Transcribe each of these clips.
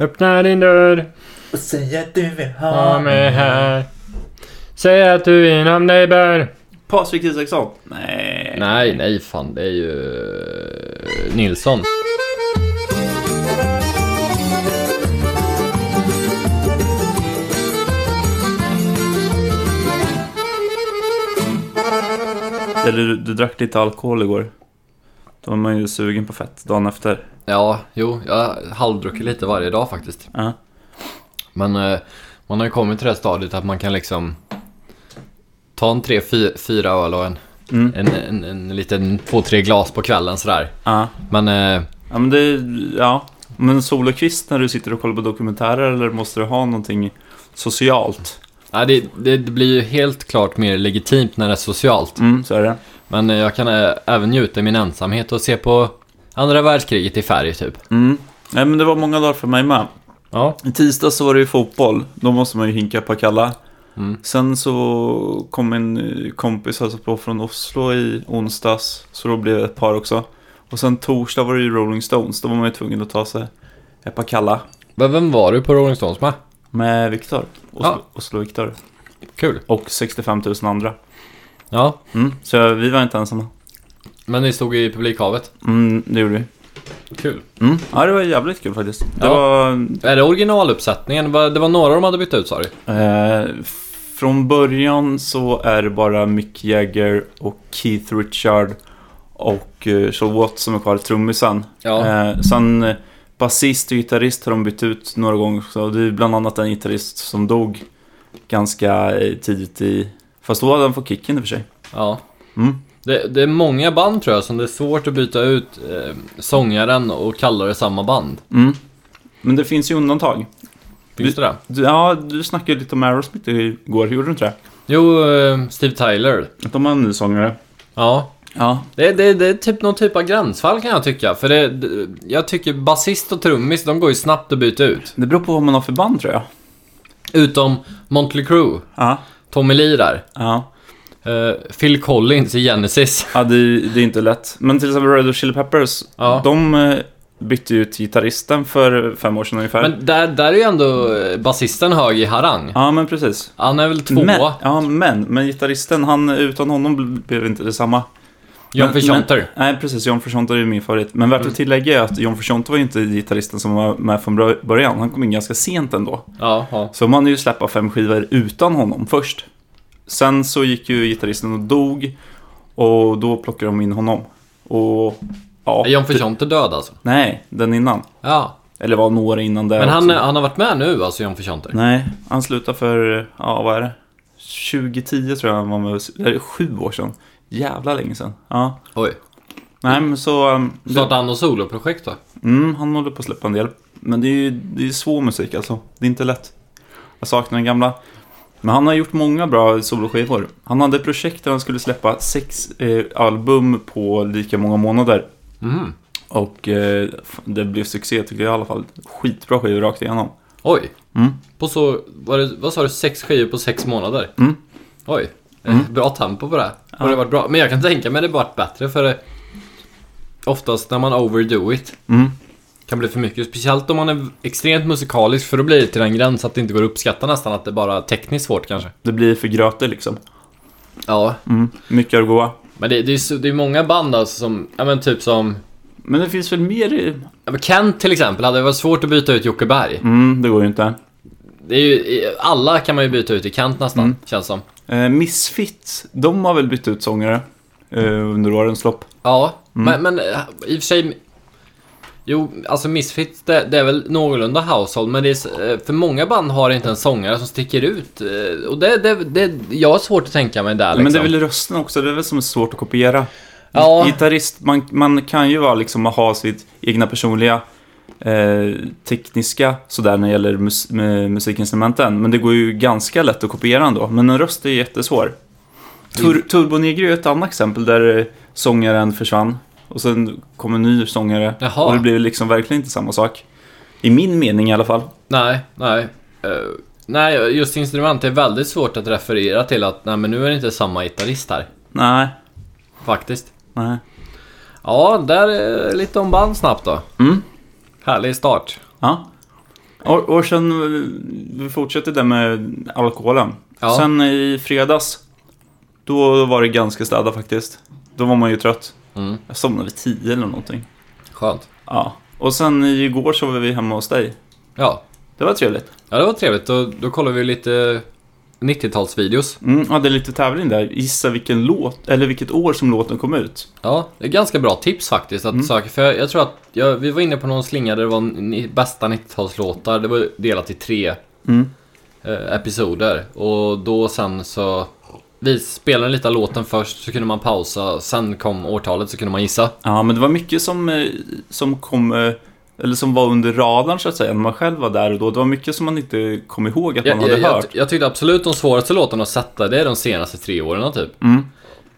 Öppna din dörr. Och säg att du vill Ha ha mig här. Säg att du inom dig bär. Patrik Isaksson? Nej. Nej, nej fan. Det är ju... eh, Nilsson. Eller du, du drack lite alkohol igår. Då var man ju sugen på fett dagen efter. Ja, jo. Jag halvdrucker lite varje dag faktiskt. Ja. Men eh, man har ju kommit till det här stadiet att man kan liksom ta en tre, fy, fyra öl och en, Mm. en, en, en liten två, tre glas på kvällen sådär. Ja. Men eh, ja, men det... Ja. Men solokvist när du sitter och kollar på dokumentärer eller måste du ha någonting socialt? nej, det, det, det blir ju helt klart mer legitimt när det är socialt. Mm, så är det. Men eh, jag kan eh, även njuta i min ensamhet och se på andra världskriget i färg typ. Mm. Nej, men det var många dagar för mig med. Ja. I tisdag så var det ju fotboll. Då måste man ju hinka på kalla. Mm. Sen så kom en eh, kompis alltså på från Oslo i onsdags. Så då blev det ett par också. Och sen torsdag var det ju Rolling Stones. Då var man ju tvungen att ta sig ett par kalla. Men vem var du på Rolling Stones med? Med Viktor. Oslo, Ja. Oslo Viktor. Kul. Och 65 000 andra. Ja. Mm. Så vi var inte ensamma. Men ni stod i publikhavet. Mm, det gjorde vi. Kul. Mm. Ja, det var jävligt kul faktiskt. Det Ja. var Är det originaluppsättningen? Va- Det var några de hade bytt ut sa du? Eh, från början så är det bara Mick Jagger och Keith Richard och eh, Shaw Watts som är kvar, trummisen. Ja. Eh, sen eh, basist och gitarrist har de bytt ut några gånger också. Det är bland annat en gitarrist som dog ganska eh, tidigt i... Fast då hade han fått kicken i och för sig. Ja. Mm. Det, det är många band tror jag som det är svårt att byta ut eh, sångaren och kalla det samma band. Mm. Men det finns ju undantag. Finns det det? Du, ja, du snackade lite om Aerosmith igår, gjorde du inte det? Jo, eh, Steve Tyler. Att de har en ny sångare. Ja. Ja. Det, det, det är typ någon typ av gränsfall kan jag tycka. För det, det, jag tycker basist och trummis, de går ju snabbt att byta ut. Det beror på vad man har för band tror jag. Utom Motley Crue, Ja. Tommy Lee där. Ja. Eh, Phil Collins i Genesis. Ja, det, det är inte lätt. Men till exempel Red Hot Chili Peppers, Ja. de eh, bytte ut gitarristen för fem år sedan ungefär. Men där, där är ju ändå eh, basisten hög i harang. Ja, men precis. Han är väl tvåa. Men, ja, men, men gitarristen, han, utan honom bl- blev det inte detsamma. John Men- Frusciante. men- Nej, precis. John Frusciante är ju min favorit. Men värt Mm. att tillägga är att John Frusciante var ju inte gitarristen som var med från bör- början. Han kom in ganska sent ändå. Ja, ja. Så man ju släppa fem skivor utan honom först. Sen så gick ju gitarristen och dog. Och då plockade de in honom. Och... Ja, Är John Frusciante död alltså? Nej, den innan. Ja. Eller var några innan det Men han, också. han har varit med nu alltså, John Frusciante? Nej, han slutade för, ja vad är det? 2010 tror jag han var med, eller sju år sedan. Jävla länge sedan. Ja. Oj. Nej Mm. men så, um, det, Startade han något soloprojekt då? mm, han håller på att släppa en del. Men det är ju det är svår musik alltså. Det är inte lätt. Jag saknar den gamla. Men han har gjort många bra soloskivor. Han hade ett projekt där han skulle släppa sex eh, album på lika många månader. Mm. Och eh, f- det blev succé tycker jag i alla fall. Skitbra skivor rakt igenom. Oj. Mm. På så, var det, vad sa du, sex skivor på sex månader? Mm. Oj. Eh, Bra tempo på det. här. Har det varit bra? Men jag kan tänka mig det varit bättre för eh, oftast när man overdo it Mm. kan bli för mycket. Speciellt om man är extremt musikalisk för då blir det till den gräns att det inte går att uppskatta nästan att det är bara tekniskt svårt kanske. Det blir för gröte liksom. Ja. Mm. Mycket att gå. Men det, det, är, så- det är många band alltså som, ja men typ som Men det finns väl mer i... ja, men Kent till exempel hade det varit svårt att byta ut Jocke Berg. Mm, det går ju inte. Det är ju, alla kan man ju byta ut i Kent nästan, känns som. Eh, Misfits, de har väl bytt ut sångare eh, under årens lopp. Ja, Mm. men, men eh, i och för sig... Jo, alltså Misfits, det, det är väl någorlunda household, men det är, s- eh, för många band har inte en sångare som sticker ut. eh, Och det, det, det, jag har svårt att tänka mig där liksom. Men det är väl rösten också, det är väl som är svårt att kopiera. Ja. Gitarrist, man, man kan ju vara liksom att ha sitt egna personliga eh, tekniska sådär när det gäller mus- med musikinstrumenten. Men det går ju ganska lätt att kopiera ändå. Men en röst är jättesvår. Mm. Tur- Turbo Negro är ett annat exempel där eh, sångaren försvann. Och sen kom en ny sångare. Jaha. Och det blev liksom verkligen inte samma sak. I min mening i alla fall. Nej, nej. Eh, nej, just instrument är väldigt svårt att referera till att nej men nu är det inte samma gitarrist här. Nej, Faktiskt. nej. Ja, där är lite om band snabbt då. Mm. Härlig start. Ja. Och, och sen, eh, vi fortsätter där med alkoholen. Ja. Sen i fredags, då var det ganska städat faktiskt. Då var man ju trött. Mm. Jag somnade vid tio eller någonting. Skönt. Ja. Och sen igår så var vi hemma hos dig. Ja. Det var trevligt. ja, det var trevligt. Då, då kollade vi lite 90-talsvideos. Mm, hade lite tävling där. Gissa vilken låt, eller vilket år som låten kom ut. Ja, det är ganska bra tips faktiskt Mm. att söka. För jag, jag tror att jag, vi var inne på någon slinga där det var ni, bästa 90-talslåtar. Det var delat i tre Mm. eh, episoder. Och då sen så... Vi spelade lite av låten först, så kunde man pausa. Sen kom årtalet, så kunde man gissa. Ja, men det var mycket som, eh, som kom, eh, eller som var under radarn så att säga, när man själv var där och då. Det var mycket som man inte kom ihåg att man Jag, hade jag, jag, hört. jag tyckte absolut de svåraste låtarna att sätta, det är de senaste tre åren typ. Mm.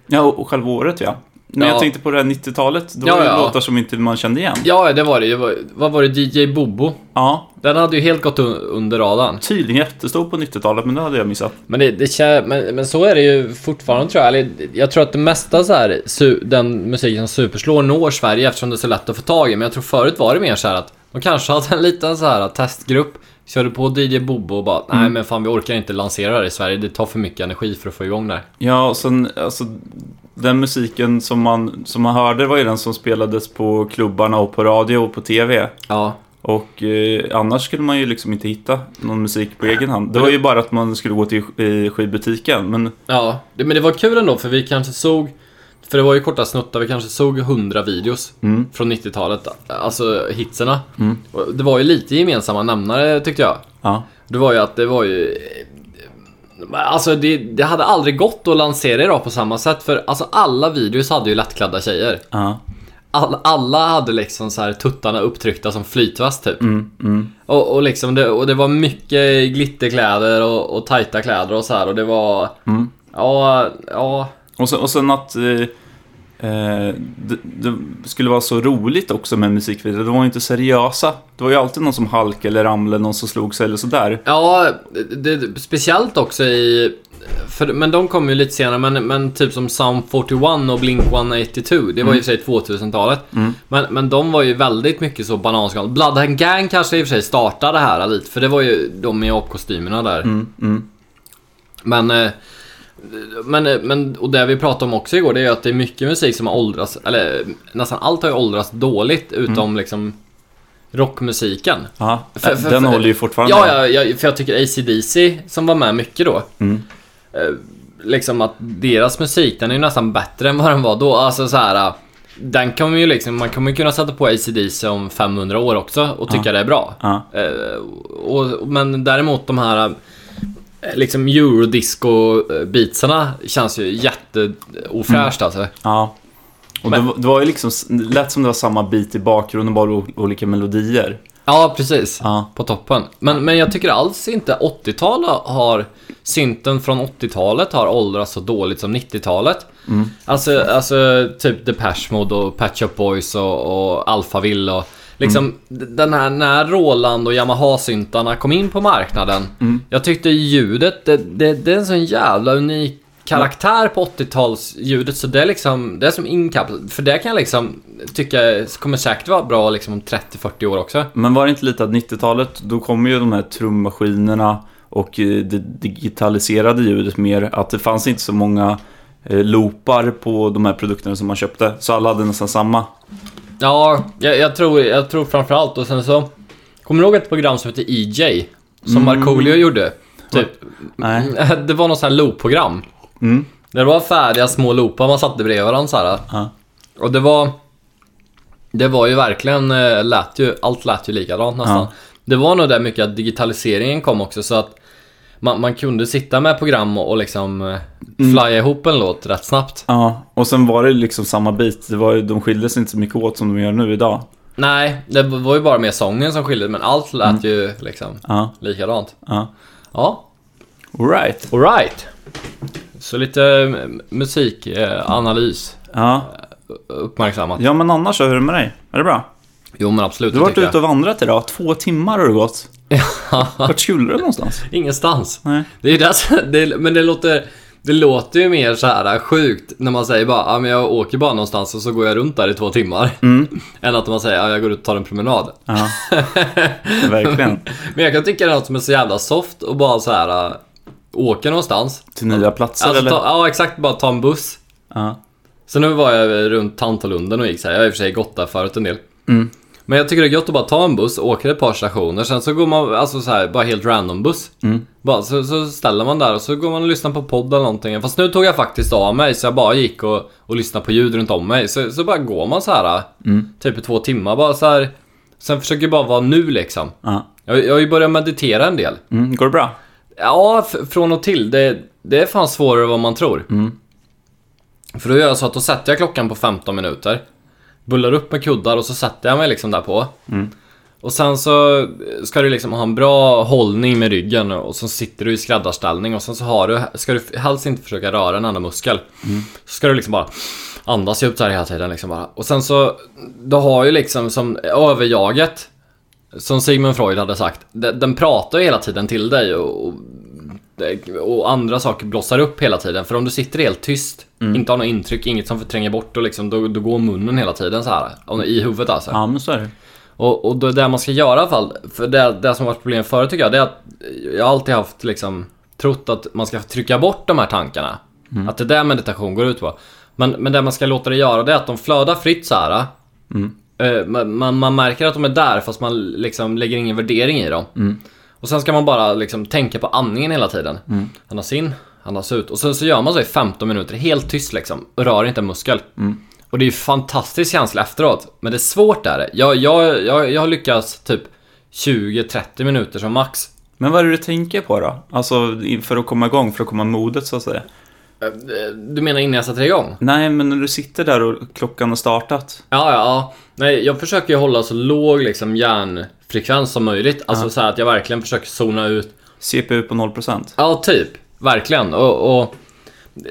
Ja, och, och själva året ja. Men Ja. jag tänkte på det här 90-talet, då Ja, var det ja. låtar som inte man kände igen. Ja, det var det. det var, vad var det? DJ Bobo? Ja, Den hade ju helt gått un- under radarn. tydligen jättestor på 90-talet, men det hade jag missat. Men, det, det, kä- men, men så är det ju fortfarande tror jag. Eller, jag tror att det mesta så här, su, den musiken som superslår når Sverige eftersom det är så lätt att få tag i. Men jag tror förut var det mer så här att de kanske hade en liten så här testgrupp. Körde på DJ Bobo och bara nej men fan vi orkar inte lansera det här i Sverige. Det tar för mycket energi för att få igång det här. Ja, och sen, alltså, den musiken som man, som man hörde var ju den som spelades på klubbarna och på radio och på TV. Ja. Och eh, annars skulle man ju liksom inte hitta någon musik på egen hand. Det var ju bara att man skulle gå till sk- eh, skivbutiken, men Ja, det, men det var kul ändå för vi kanske såg för det var ju korta snuttar, vi kanske såg 100 videos Mm. från 90-talet, alltså hitserna. Och Det var ju lite gemensamma nämnare tyckte jag. ja. Det var ju att det var ju... Alltså det, det hade aldrig gått att lansera idag på samma sätt för alltså alla videos hade ju lättklädda tjejer. ja. All, alla hade liksom så här tuttarna upptryckta som flytväst typ. Mm, mm. Och, och, liksom det, och det var mycket glitterkläder och, och tajta kläder och så här och det var... Mm. Ja, ja. Och, sen, och sen att eh, eh, det, det skulle vara så roligt också med musikvideor. De var ju inte seriösa. Det var ju alltid någon som halkade eller ramlade, någon som slog sig eller sådär. Ja, det, det, speciellt också i... För, men de kom ju lite senare, men, men typ som Sound 41 och Blink 182, det var i och för sig 2000-talet. Men, men de var ju väldigt mycket så bananskal. Blood and Gang kanske i och för sig startade här lite, för det var ju de i apkostymerna där. Mm, mm. Men, eh, men, eh, men, och det vi pratade om också igår, det är ju att det är mycket musik som har åldrats, eller nästan allt har ju åldrats dåligt, utom liksom rockmusiken. Ja, För- för- den för- håller ju fortfarande. Ja, ja, ja, för jag tycker ACDC som var med mycket då. Mm. Eh, liksom att deras musik, den är ju nästan bättre än vad den var då. Alltså så här. eh, Den kommer ju liksom, man kommer ju kunna sätta på ACDC om 500 år också och tycka det är bra. Ja. Eh, och, men däremot de här eh, liksom eurodisco-beatsarna känns ju jätteofräscht Mm. alltså. Ja. Och Men- det, var- det var ju liksom, s- lät som det var samma bit i bakgrunden, bara o- olika melodier. Ja, precis. Ja. På toppen. Men, men jag tycker alls inte 80-talet har... Synten från 80-talet har åldrats så dåligt som 90-talet. Alltså, alltså typ Depeche Mode och Patch Up Boys och, och Alphaville och... Liksom d- den här när Roland och Yamaha-syntarna kom in på marknaden. Jag tyckte ljudet, det, det, det är en sån jävla unik karaktär på 80-talsljudet så det är liksom, det är som inkapslat. För det kan jag liksom tycka kommer säkert vara bra liksom om 30-40 år också. Men var det inte lite att 90-talet, då kommer ju de här trummaskinerna och eh, det digitaliserade ljudet mer. Att det fanns inte så många eh, loopar på de här produkterna som man köpte. Så alla hade nästan samma. Ja, jag, jag, tror, jag tror framförallt och sen så Kommer du ihåg ett program som hette EJ? Som Markoolio gjorde? Typ. Mm. Nej. Det var något sånt här loop-program Mm. Det var färdiga små loopar man satte bredvid varandra så här. Ja. Och det var Det var ju verkligen, eh, lät ju, allt lät ju likadant nästan Ja. Det var nog där mycket att digitaliseringen kom också så att man, man kunde sitta med program och, och liksom eh, Mm. flya ihop en låt rätt snabbt Ja, och sen var det liksom samma bit. Det var, ju- de skilde sig inte så mycket åt som de gör nu idag. Nej, det var ju bara mer sången som skilde men allt lät Mm. ju liksom Ja, Likadant. ja. Ja, Alright. alright. Så lite eh, musikanalys Ja. uppmärksammat. ja, men annars så, hur är det med dig? Är det bra? Jo men absolut, Du det har varit tycker ute och vandrat idag. Två timmar har det gått. jag. Vart skulle du någonstans? Ingenstans. Nej. Det är ju det, som- det, men det låter... Det låter ju mer så här eh, sjukt när man säger bara ah, men jag åker bara någonstans och så går jag runt där i två timmar. Mm. Än att man säger ah, jag går ut och tar en promenad. Ja. Verkligen. Men jag kan tycka det är något som är så jävla soft och bara så här äh, åka någonstans. Till nya platser Alltså, eller? ta, ja, exakt. Bara ta en buss. Ja. Så nu var jag runt Tantalunden och gick så här. Jag har i och för sig gått där förut en del. Mm. Men jag tycker det är gött att bara ta en buss, åka ett par stationer, sen så går man, alltså så här, bara helt random buss. Mm. Bara, så, så ställer man där och så går man och lyssnar på podd eller någonting. Fast nu tog jag faktiskt av mig så jag bara gick och, och lyssnade på ljud runt om mig. Så, så bara går man så här Mm. typ i två timmar bara så här. Sen försöker jag bara vara nu liksom. Ja. Jag, jag har ju börjat meditera en del. Mm. Går det bra? Ja, f- från och till. Det, det är fan svårare än vad man tror. Mm. För då gör jag så att då sätter jag klockan på 15 minuter. Bullar upp med kuddar och så sätter jag mig liksom där på. Mm. Och sen så ska du liksom ha en bra hållning med ryggen och så sitter du i skräddarställning och sen så har du, ska du helst inte försöka röra en enda muskel. Så ska du liksom bara andas djupt så här hela tiden liksom bara. Och sen så, du har ju liksom som överjaget, som Sigmund Freud hade sagt, den, den pratar ju hela tiden till dig och, och, det- och andra saker blossar upp hela tiden. För om du sitter helt tyst, inte har något intryck, inget som förtränger bort och liksom, då, då går munnen hela tiden så här om- i huvudet alltså. Ja, men så är det. Och, och då, det man ska göra i alla fall, för det, det som varit problem förut tycker jag, det är att jag har alltid haft liksom trott att man ska trycka bort de här tankarna. Att det är det meditation går ut på. Men, men det man ska låta det göra det är att de flödar fritt så här. Eh, Man, man, man märker att de är där fast man liksom lägger ingen värdering i dem. Och sen ska man bara liksom tänka på andningen hela tiden. Andas in, andas ut. Och sen så gör man så i 15 minuter, helt tyst liksom. Och rör inte en muskel. Och det är ju fantastisk känsla efteråt. Men det är svårt där. Jag, jag, jag, jag har lyckats typ 20-30 minuter som max. Men vad är det du tänker på då? Alltså i- för att komma igång, för att komma modet så att säga. Eh, eh, Du menar innan jag sätter igång? Nej, men när du sitter där och klockan har startat. Ja, ja, ja. Nej, jag försöker ju hålla så låg liksom hjärnfrekvens som möjligt. Alltså så här att jag verkligen försöker zona ut CPU på 0%. Ja, typ. Verkligen. Och, och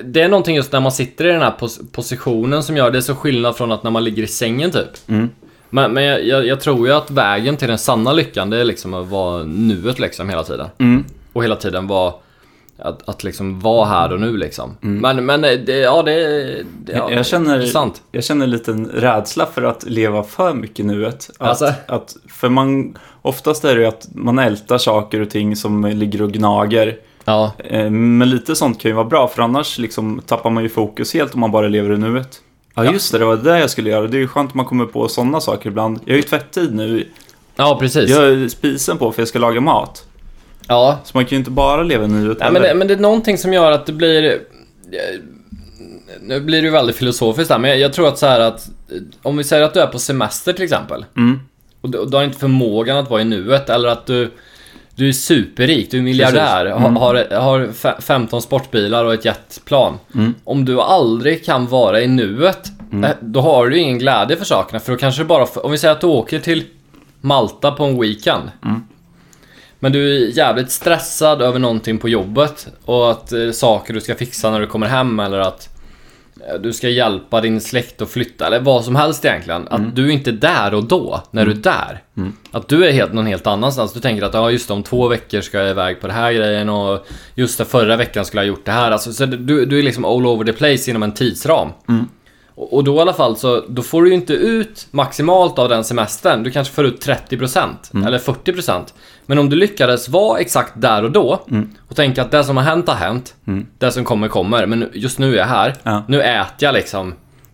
det är någonting just när man sitter i den här pos- positionen som gör det så skillnad från att när man ligger i sängen typ. Mm. Men, men jag, jag, jag tror ju att vägen till den sanna lyckan det är liksom att vara nuet liksom hela tiden. Mm. Och hela tiden vara att, att liksom vara här och nu liksom. Men, men det, ja det, det ja, Mm. Jag känner- det är sant. Jag känner en liten rädsla för att leva för mycket i nuet. Att, Alltså? att, för man, oftast är det ju att man ältar saker och ting som ligger och gnager. Ja. Eh, Men lite sånt kan ju vara bra, för annars liksom tappar man ju fokus helt om man bara lever i nuet. Ja, just det, det var det jag skulle göra. Det är ju skönt att man kommer på sådana saker ibland. Jag har ju tvättid nu. ja, precis. Jag har spisen på för jag ska laga mat. Ja, Så man kan ju inte bara leva i nuet Nej, men, heller. det, men det är någonting som gör att det blir... eh, Nu blir det ju väldigt filosofiskt här, men jag, jag tror att så här att... eh, Om vi säger att du är på semester till exempel. Mm. Och du, och du har inte förmågan att vara i nuet, eller att du... Du är superrik, du är miljardär, Precis. Mm. ha- har, har fe- 15 sportbilar och ett jetplan. Mm. Om du aldrig kan vara i nuet, eh, då har du ju ingen glädje för sakerna. För då kanske du bara... Om vi säger att du åker till Malta på en weekend. Mm. Men du är jävligt stressad över någonting på jobbet och att eh, saker du ska fixa när du kommer hem eller att eh, du ska hjälpa din släkt att flytta eller vad som helst egentligen. Att du inte är där och då, när du är där. Att du är helt, någon helt annanstans. Du tänker att ja, just det, om två veckor ska jag iväg på den här grejen och just det, förra veckan skulle jag ha gjort det här. Alltså, så du, du är liksom all over the place inom en tidsram. Och och då i alla fall så, då får du ju inte ut maximalt av den semestern. Du kanske får ut 30% eller 40%. Men om du lyckades vara exakt där och då och tänka att det som har hänt har hänt. Det som kommer kommer. Men just nu är jag här. Ja. Nu äter jag liksom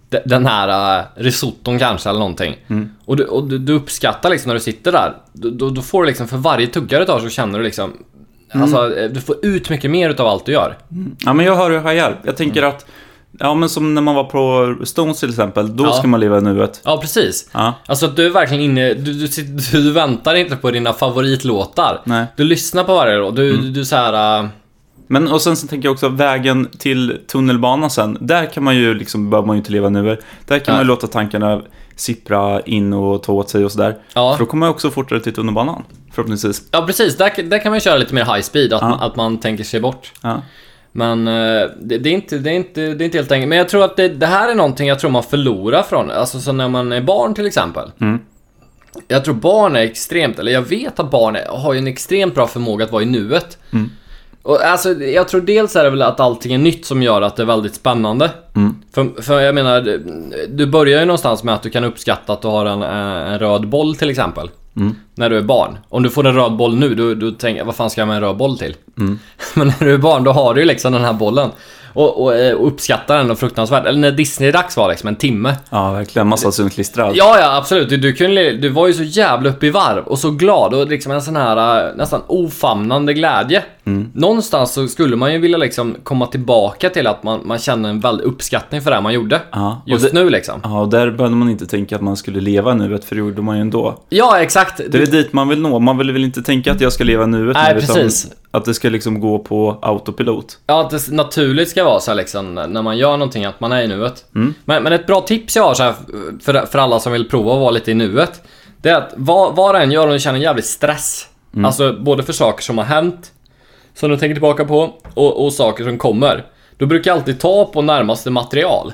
de- den här äh, risotton kanske eller någonting. Och, du, och du, du uppskattar liksom när du sitter där. Då, då, då får du liksom för varje tugga du tar så känner du liksom Alltså eh, du får ut mycket mer utav allt du gör. Ja, men jag hör hur jag hjälp. Mm. Jag tänker att, ja men som när man var på Stones till exempel, då Ja. ska man leva i nuet. Ja precis. Ja. Alltså att du är verkligen inne, du, du, sit- du väntar inte på dina favoritlåtar. Nej. Du lyssnar på varje låt, du, du, du så här. äh, Men och sen så tänker jag också vägen till tunnelbanan sen. Där kan man ju liksom, behöver man ju inte leva nu. Där kan Ja. man ju låta tankarna sippra in och ta åt sig och sådär. Ja. För då kommer jag också fortare till tunnelbanan. Förhoppningsvis. Ja precis, där, där kan man köra lite mer high speed, att, Ja. man, att man tänker sig bort. Ja. Men eh, det, det, är inte, det, är inte, det är inte helt enkelt. Men jag tror att det, det här är någonting jag tror man förlorar från. Alltså så när man är barn till exempel. Mm. Jag Mm. tror barn är extremt, eller jag vet att barn är, har ju en extremt bra förmåga att vara i nuet. Och- Och alltså, jag tror dels är det väl att allting är nytt som gör att det är väldigt spännande. Mm. För, för jag menar, du- du börjar ju någonstans med att du kan uppskatta att du har en, eh, en röd boll till exempel. Mm. När du är barn. Om du får en röd boll nu, du, du tänker vad fan ska jag med en röd boll till? Mm. Men när du är barn, då har du ju liksom den här bollen. Och, och, eh, och uppskattar den och fruktansvärt. Eller när Disney-dags var liksom en timme. Ja, verkligen. Massa synklistrad. Ja, ja absolut. Du, du, kunde, du var ju så jävla uppe i varv och så glad och liksom en sån här eh, nästan ofamnande glädje. Mm. Någonstans så skulle man ju vilja liksom komma tillbaka till att man, man känner en väldig uppskattning för det här man gjorde. Ja, och Just det- nu liksom. Ja, och där behövde man inte tänka att man skulle leva nuet, för det gjorde man ju ändå. Ja, exakt. Det är dit man vill nå. Man vill väl inte tänka att jag ska leva nuet Nej, nu, utan precis. att det ska liksom gå på autopilot. Ja, att det naturligt ska vara så här liksom när man gör någonting att man är i nuet. Mm. Men, men ett bra tips jag har så här för, för alla som vill prova att vara lite i nuet. Det är att vad, vad du än gör om du känner en jävlig stress. Alltså både för saker som har hänt, som du tänker tillbaka på, och, och saker som kommer. Du brukar jag alltid ta på närmaste material.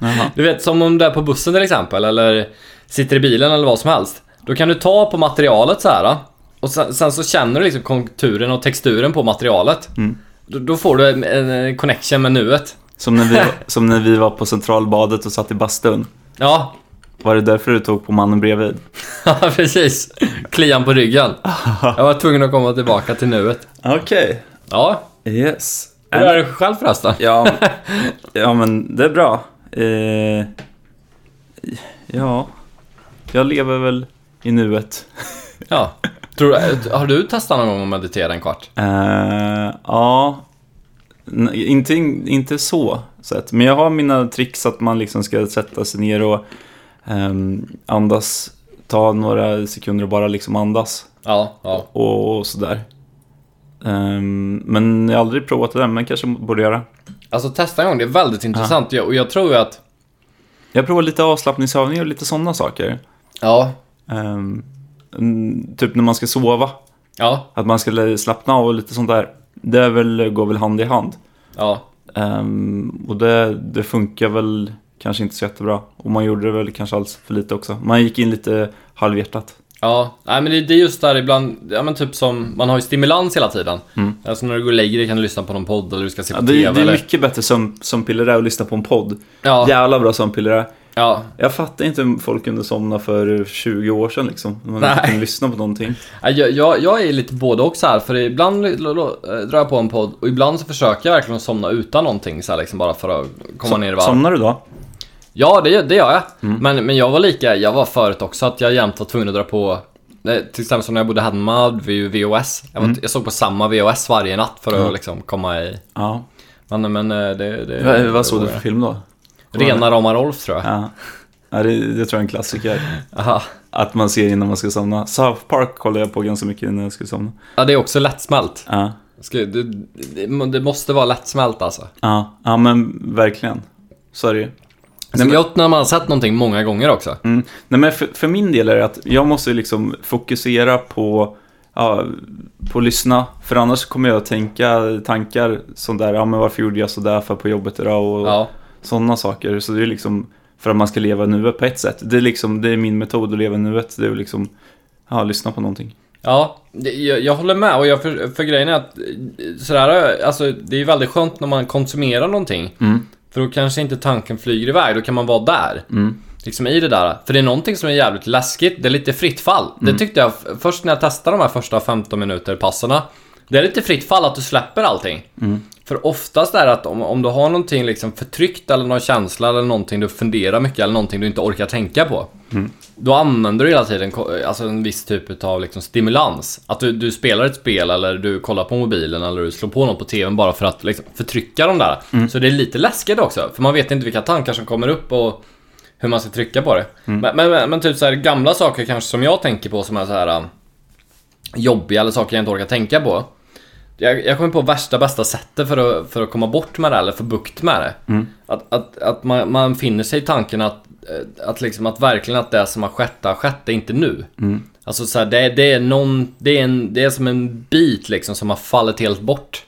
Jaha. Du vet som om du är på bussen till exempel eller sitter i bilen eller vad som helst. Då kan du ta på materialet så här och sen, sen så känner du liksom konturen och texturen på materialet. Då, då får du en, en, en connection med nuet. Som när, vi, som när vi var på Centralbadet och satt i bastun. Ja, Var det därför du tog på mannen bredvid? ja, precis. Klian på ryggen. Jag var tvungen att komma tillbaka till nuet. Okej. Ja, Yes. hur är det själv förresten? Ja, ja, men det är bra. Eh, ja, jag lever väl i nuet. Ja. Tror, du- har du testat någon gång att meditera en kvart? Eh, ja, N- inte, inte så sett. Men jag har mina tricks att man liksom ska sätta sig ner och ehm, andas. Ta några sekunder och bara liksom andas Ja, ja. och, och sådär. Ehm, men jag har aldrig provat det där, men kanske borde göra. Alltså testa en gång, det är väldigt intressant. Jag- Och jag tror ju att... Jag provar lite avslappningsövningar och lite sådana saker. Ja. Ehm, mm, typ när man ska sova, Ja, att man ska slappna av och lite sånt där. Det är väl, går väl hand i hand. ja. Ehm, och det, det funkar väl kanske inte så jättebra. Och man gjorde det väl kanske alls för lite också. Man gick in lite halvhjärtat. Ja, nej men det, det är just där ibland, ja men typ som, man har ju stimulans hela tiden. Alltså när du går och lägger dig kan du lyssna på någon podd eller du ska se på Mm. Ja, det, TV det är eller... mycket bättre som, som piller är att lyssna på en podd. Ja, ja, Jävla bra som piller är. ja. Jag fattar inte hur folk kunde somna för 20 år sedan liksom. När man Nej. inte kunde lyssna på någonting. Jag, jag, jag är lite både och så här, för ibland l- l- l- eh, drar jag på en podd och ibland så försöker jag verkligen somna utan någonting så här, liksom bara för att komma Som- Mm. ner i varv. Somnar du då? Ja, det, gör- det gör jag. Men, men jag var lika, jag var förut också att jag jämt var tvungen att dra på eh, till exempel som när jag bodde hemma hade vi ju VHS. Jag, Mm. var, jag såg på samma VHS varje natt för att liksom komma i... Ja. Men, men eh, det... det Vad, vad såg du för film då? Rena rama Rolf tror jag. Eh, Ja. Ja, det, det tror jag är en klassiker. Aha. Att man ser innan man ska somna. South Park kollade jag på ganska mycket innan jag skulle somna. Ja, det är också lättsmält. Ja, Ska, det, det, det måste vara lättsmält alltså. ja, ja men verkligen. Så är det ju. Nej, men... Alltså, Gott när man har sett någonting många gånger också. Mm. Nej, men för, för min del är det att jag måste ju liksom fokusera på, ja, på att lyssna. För annars kommer jag att tänka tankar som där, ja men varför gjorde jag sådär för på jobbet idag och Ja, sådana saker. Så det är liksom för att man ska leva nuet på ett sätt. Det är liksom, det är min metod att leva nuet. Det är liksom, ja, lyssna på någonting. ja det, jag, jag håller med. Och jag, för, för grejen är att eh, sådär, alltså, det är väldigt skönt när man konsumerar någonting. Mm. För då kanske inte tanken flyger iväg. Då kan man vara där. Mm. Liksom i det där. För det är någonting som är jävligt läskigt. Det är lite fritt fall. Mm. Det tyckte jag f- först när jag testade de här första 15 minuter passerna. Det är lite fritt fall att du släpper allting. Mm. För oftast är det att om, om du har någonting liksom förtryckt eller någon känsla eller någonting du funderar mycket eller någonting du inte orkar tänka på. Då använder du hela tiden ko- alltså en viss typ av liksom stimulans. Att du, du spelar ett spel eller du kollar på mobilen eller du slår på något på TVn bara för att liksom förtrycka de där. Så det är lite läskigt också. För man vet inte vilka tankar som kommer upp och hur man ska trycka på det. Men, men, men, men typ så här gamla saker kanske som jag tänker på som är så här um, jobbiga eller saker jag inte orkar tänka på. Jag, jag kommer på värsta bästa sättet för att, för att komma bort med det eller få bukt med det. Att, att, att man, man finner sig i tanken att, eh, att, liksom, att verkligen att det som har skett har skett, det är inte nu. Alltså så här, det, det, är någon, det, är en, det är som en bit liksom som har fallit helt bort.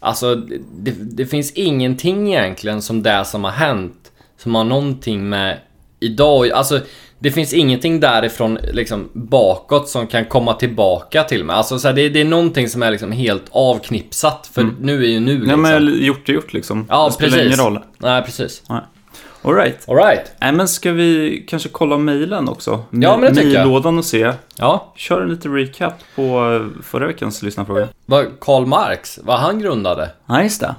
Alltså det, det finns ingenting egentligen som det som har hänt som har någonting med idag Alltså Det finns ingenting därifrån liksom bakåt som kan komma tillbaka till mig. Alltså så här, det, det är någonting som är liksom helt avknipsat. För nu är ju nu Mm. Nej liksom. men gjort är gjort liksom. Ja, det spelar precis. ingen roll. Nej, precis. Alright. Alright. Nej men ska vi kanske kolla mejlen också? Ja, men det tycker jag. Mejllådan och se. Ja. Kör en liten recap på eh, förra veckans lyssnarfråga. Vad Karl Marx, vad han grundade. Ja, just det.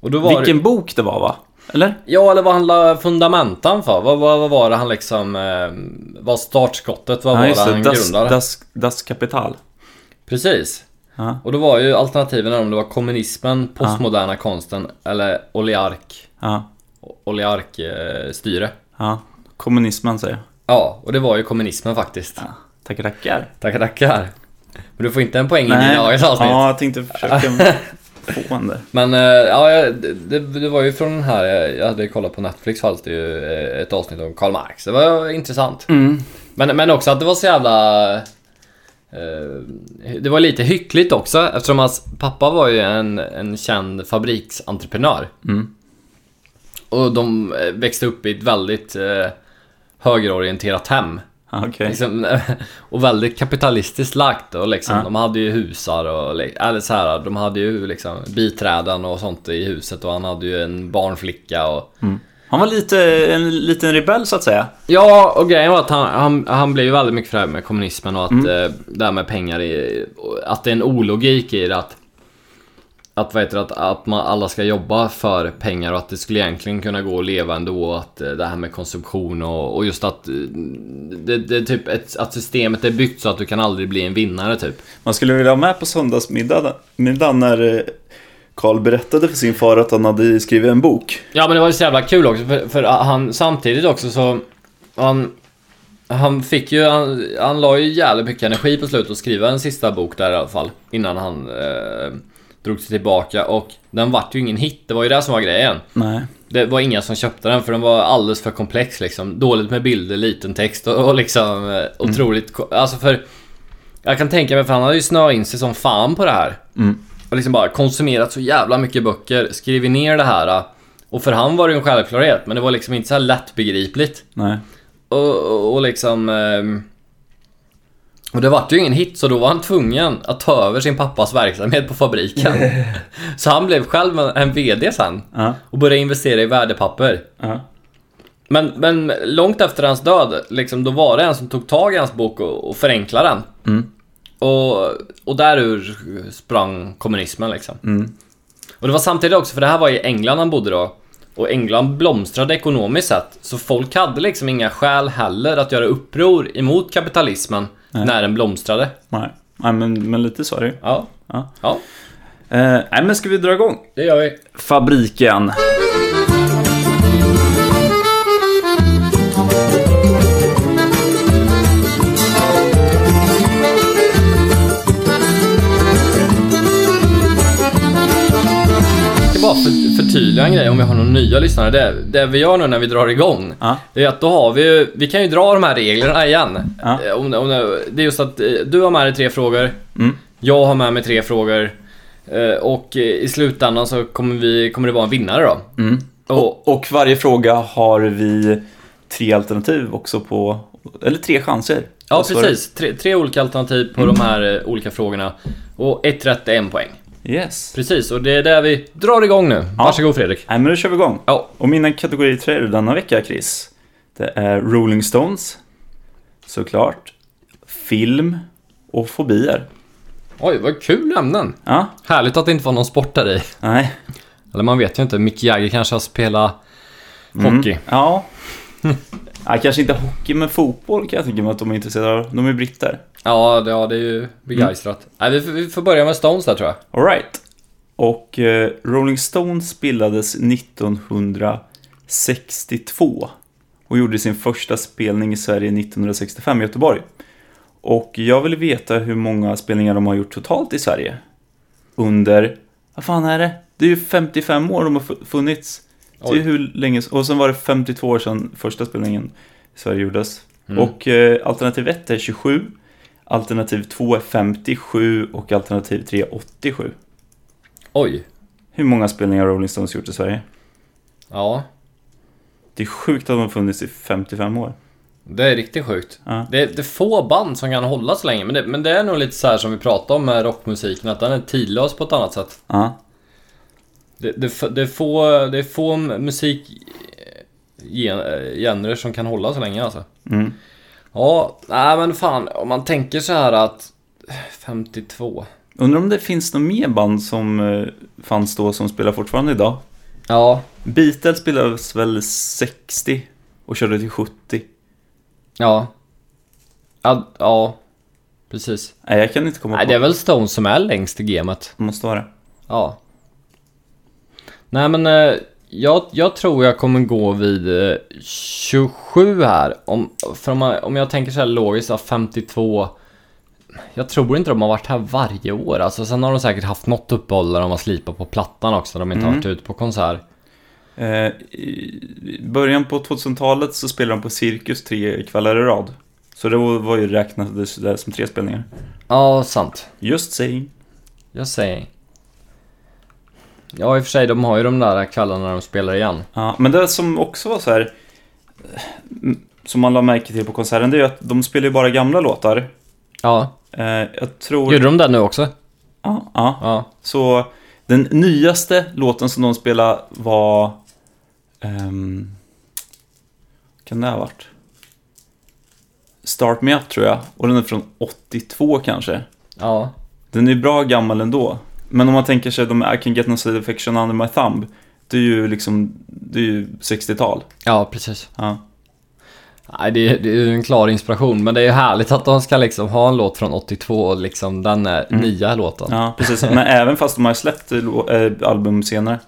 Och då var det- Vilken bok det var va? Eller? Ja, eller vad han la fundamentan för? Vad, vad, vad var det han liksom... Eh, var startskottet? Vad ja, var det just han das, grundade? das, das Kapital. Precis. Ja. Och då var ju alternativen om det var kommunismen, postmoderna konsten eller oliark, Ja, oliarkstyre. Eh, styre. ja. Kommunismen säger jag. ja, och det var ju kommunismen faktiskt. Ja. Tackar, tackar. Tackar, tackar. Men du får inte en poäng i dina dagens avsnitt. ja, jag tänkte försöka få en där. Men eh, ja, jag- det, det var ju från den här, eh, jag hade kollat på Netflix fanns det ju eh, ett avsnitt om Karl Marx. Det var intressant. Men, men också att det var så jävla... eh, Det var lite hyckligt också eftersom hans pappa var ju en, en känd fabriksentreprenör. Mm. Och de eh, växte upp i ett väldigt eh, högerorienterat hem. Ja, Okej. Liksom, och väldigt kapitalistiskt lagt och liksom, Ja. de hade ju husar och li- eller så här, de hade ju liksom biträden och sånt i huset och han hade ju en barnflicka och Han var lite, en liten rebell så att säga. Ja, och grejen var att han, han, han blev ju väldigt mycket för det här med kommunismen och att eh, det här med pengar är, och att det är en ologik i det att att, vad heter, det, att, att man, alla ska jobba för pengar och att det skulle egentligen kunna gå att leva ändå och att eh, det här med konsumtion och, och just att eh, det, det är typ ett, att systemet är byggt så att du kan aldrig bli en vinnare typ. Man skulle vilja vara med på söndagsmiddagen middagen när eh, Karl berättade för sin far att han hade skrivit en bok. Ja men det var ju så jävla kul också för, för han samtidigt också så han, han fick ju, han, han la ju jävligt mycket energi på slutet att skriva en sista bok där i alla fall innan han eh, drog sig tillbaka och den vart ju ingen hit, det var ju det som var grejen. Nej. Det var inga som köpte den för den var alldeles för komplex liksom. Dåligt med bilder, liten text och, och liksom Mm. eh, otroligt... ko- Alltså för... Jag kan tänka mig för han hade ju snöat in sig som fan på det här. Mm. Och liksom bara konsumerat så jävla mycket böcker, skrivit ner det här. eh. Och för han var det ju en självklarhet men det var liksom inte så här lättbegripligt. Nej. Och, och, och liksom... ehm, och det vart ju ingen hit så då var han tvungen att ta över sin pappas verksamhet på fabriken. så han blev själv en, en VD sen Ja. och började investera i värdepapper. Ja. Men, men långt efter hans död, liksom, då var det en som tog tag i hans bok och, och förenklade den. Mm. Och, och därur sprang kommunismen liksom. Mm. Och det var samtidigt också, för det här var i England han bodde då. Och England blomstrade ekonomiskt sett. Så folk hade liksom inga skäl heller att göra uppror emot kapitalismen Nej. när den blomstrade. Nej. Nej, men, men lite så är det ju. Ja. Ja. ja, Eh, nej, men ska vi dra igång? det gör vi. Fabriken. Jag ska bara för, förtydliga en grej om vi har några nya lyssnare. Det, det vi gör nu när vi drar igång, Ja. det är att då har vi ju, vi kan ju dra de här reglerna igen. Ja. Eh, Om, om, det är just att eh, du har med dig tre frågor, Mm. jag har med mig tre frågor eh, och eh, i slutändan så kommer, vi, kommer det vara en vinnare då. Mm. Och, Och varje fråga har vi tre alternativ också på, eller tre chanser. ja, Vad sa du? Mm. precis. Tre, tre olika alternativ på de här eh, olika frågorna och ett rätt är en poäng. Yes. Precis, och det är där vi drar igång nu. Ja. Varsågod Fredrik. Nej, men då kör vi igång. Ja, Och mina kategoritröjor denna vecka, Chris, det är Rolling Stones, såklart, film och fobier. oj vad kul ämnen. Ja, Härligt att det inte var någon sport där i. nej. Eller man vet ju inte, Mick Jagger kanske har spelat hockey. Mm. Ja. ja. Kanske inte hockey, men fotboll kan jag tänka mig att de är intresserade av. De är britter. Ja, det, ja, det är ju begeistrat. Mm. Nej, vi, får- vi får börja med Stones där tror jag. Alright. Och eh, Rolling Stones bildades 1962 och gjorde sin första spelning i Sverige 1965 i Göteborg. Och jag vill veta hur många spelningar de har gjort totalt i Sverige. Under, vad fan är det? Det är ju 55 år de har fu- funnits. Det är Oj. ju hur länge, och sen var det 52 år sedan första spelningen i Sverige gjordes. Mm. Och eh, alternativ 1 är 27, alternativ 2 är 57 och alternativ 3 är 87. Oj. Hur många spelningar har Rolling Stones gjort i Sverige? Ja. Det är sjukt att de har funnits i 55 år. Det är riktigt sjukt. Ja. Det, är, det är få band som kan hålla så länge. Men det, men det är nog lite så här som vi pratade om med rockmusiken, att den är tidlös på ett annat sätt. Ja. Det, det, är f- det, är, få, det är få eh, musikgenrer eh, som kan hålla så länge alltså. Mm. Ja, nej men fan om man tänker så här att 52. Undrar om det finns några mer band som eh, fanns då som spelar fortfarande idag? Ja, Beatles spelades väl 60 och körde till 70? ja. Ja, ja precis. Nej, jag kan inte komma Nej, på. det är väl Stones som är längst i gamet. Det måste vara det. Ja. Nej men eh, jag, jag tror jag kommer gå vid eh, 27 här. Om, för om, man, om jag tänker så här logiskt, ja, 52. Jag tror inte de har varit här varje år. Alltså, sen har de säkert haft något uppehåll där de har slipat på plattan också. Där de inte har Mm. varit ute på konsert. Eh, I i början på 2000-talet så spelade de på Cirkus tre kvällar i rad. Så det var var ju räknades där som tre spelningar. Ja, sant. Just saying. Jag säger. Ja, i och för sig, de har ju de där kvällarna när de spelar igen. Ja, men det som också var så här eh, m- som man la märke till på konserten, det är ju att de spelar ju bara gamla låtar. Ja. Eh, jag tror... Gjorde de det nu också? Ja, ja. Ja. Så den nyaste låten som de spelade var... ehm, kan det ha varit? Start Me Up tror jag. Och den är från 82 kanske. Ja. Den är ju bra gammal ändå. Men om man tänker sig de I Can Get No Satisfaction Under My Thumb. Det är ju liksom, det är ju 60-tal. Ja, precis. Ja. Nej, det, är- det är ju en klar inspiration, men det är ju härligt att de ska liksom ha en låt från 82 och liksom den är nya låten. Ja, ja, precis. Men även fast de har släppt lå- eh, album senare.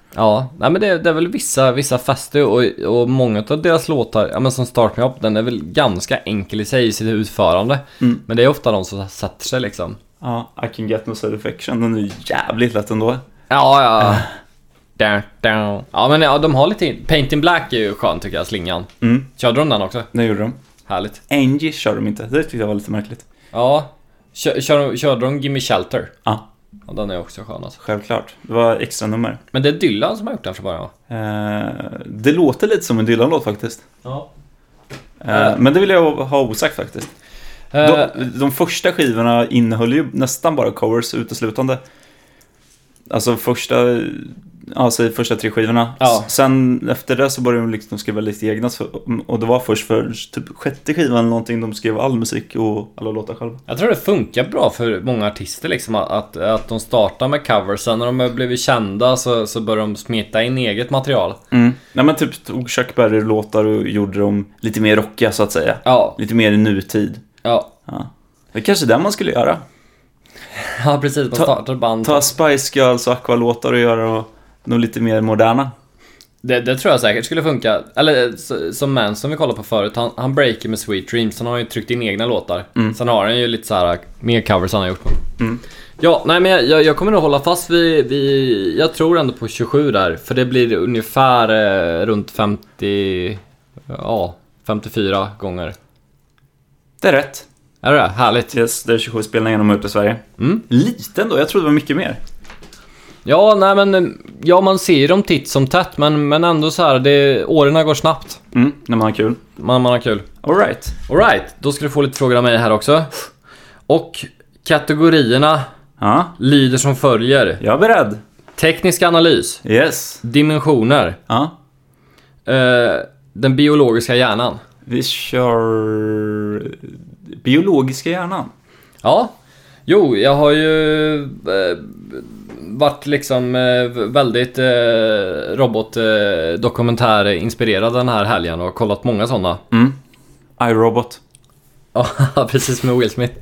nej men det, är- det är väl vissa, vissa fester och, och många av deras låtar, ja men som Start Me Up, den är väl ganska enkel i sig i sitt utförande. Mm. Men det är ofta de som sätter sig liksom. Ja, I Can Get No Satisfaction. Den är ju jävligt lätt ändå. Ja, ja. Dun, dun. Ja men ja, de har lite, Paint in Black är ju skön tycker jag, slingan. Mm, Körde de den också? det gjorde de. Härligt. Angie kör de inte. Det tyckte jag var lite märkligt. Ja, kör, kör, de- körde de Gimme Shelter? Ja. Ja, den är också skön alltså. Självklart. Det var extra nummer. Men det är Dylan som har gjort den från början va? Eh, det låter lite som en Dylan-låt faktiskt. Ja. Eh, Eh. Men det vill jag ha osagt faktiskt. De, de första skivorna innehöll ju nästan bara covers uteslutande. Alltså första, ja, säg första tre skivorna. Ja. S- Sen efter det så började de liksom skriva lite egna. så- Och det var först för typ sjätte skivan eller någonting de skrev all musik och alla låtar själva. Jag tror det funkar bra för många artister liksom att- att, att de startar med covers. Sen när de har blivit kända så, så börjar de smeta in eget material. Nej men typ tog Chuck Berry-låtar och gjorde dem lite mer rockiga så att säga. Ja, Lite mer i nutid. ja, Ja. Det är kanske är det man skulle göra. ja precis. Man Ta- startar band. Ta Spice Girls och Aqua-låtar och göra dem nog lite mer moderna. Det, det tror jag säkert skulle funka. Eller eh, s- som man som vi kollade på förut, han, han breaker med Sweet Dreams. Sen har han ju tryckt in egna låtar. Sen har han ju lite så här mer covers han har gjort. Ja, nej men jag, jag, jag kommer nog hålla fast vid, vid, jag tror ändå på 27 där. För det blir ungefär eh, runt 50, ja, 54 gånger. Det är rätt. Är det det? Härligt. Yes, det är 27 spelningar de har gjort i Sverige. Mm. Liten då, jag trodde det var mycket mer. Ja, nej men, eh, ja man ser ju dem titt som tätt men, men ändå så här, det, åren går snabbt. Mm, när man har kul. Man, man har kul. Alright. Alright, då ska du få lite frågor av mig här också. Och kategorierna Ja, lyder som följer. jag är beredd. Teknisk analys, Yes. dimensioner, Ja, eh, den biologiska hjärnan. vi kör... Biologiska hjärnan. Ja. Jo, jag har ju eh, varit liksom eh, väldigt eh, robotdokumentär-inspirerad den här helgen och kollat många sådana. Mm. iRobot. Ja, precis med Will Smith.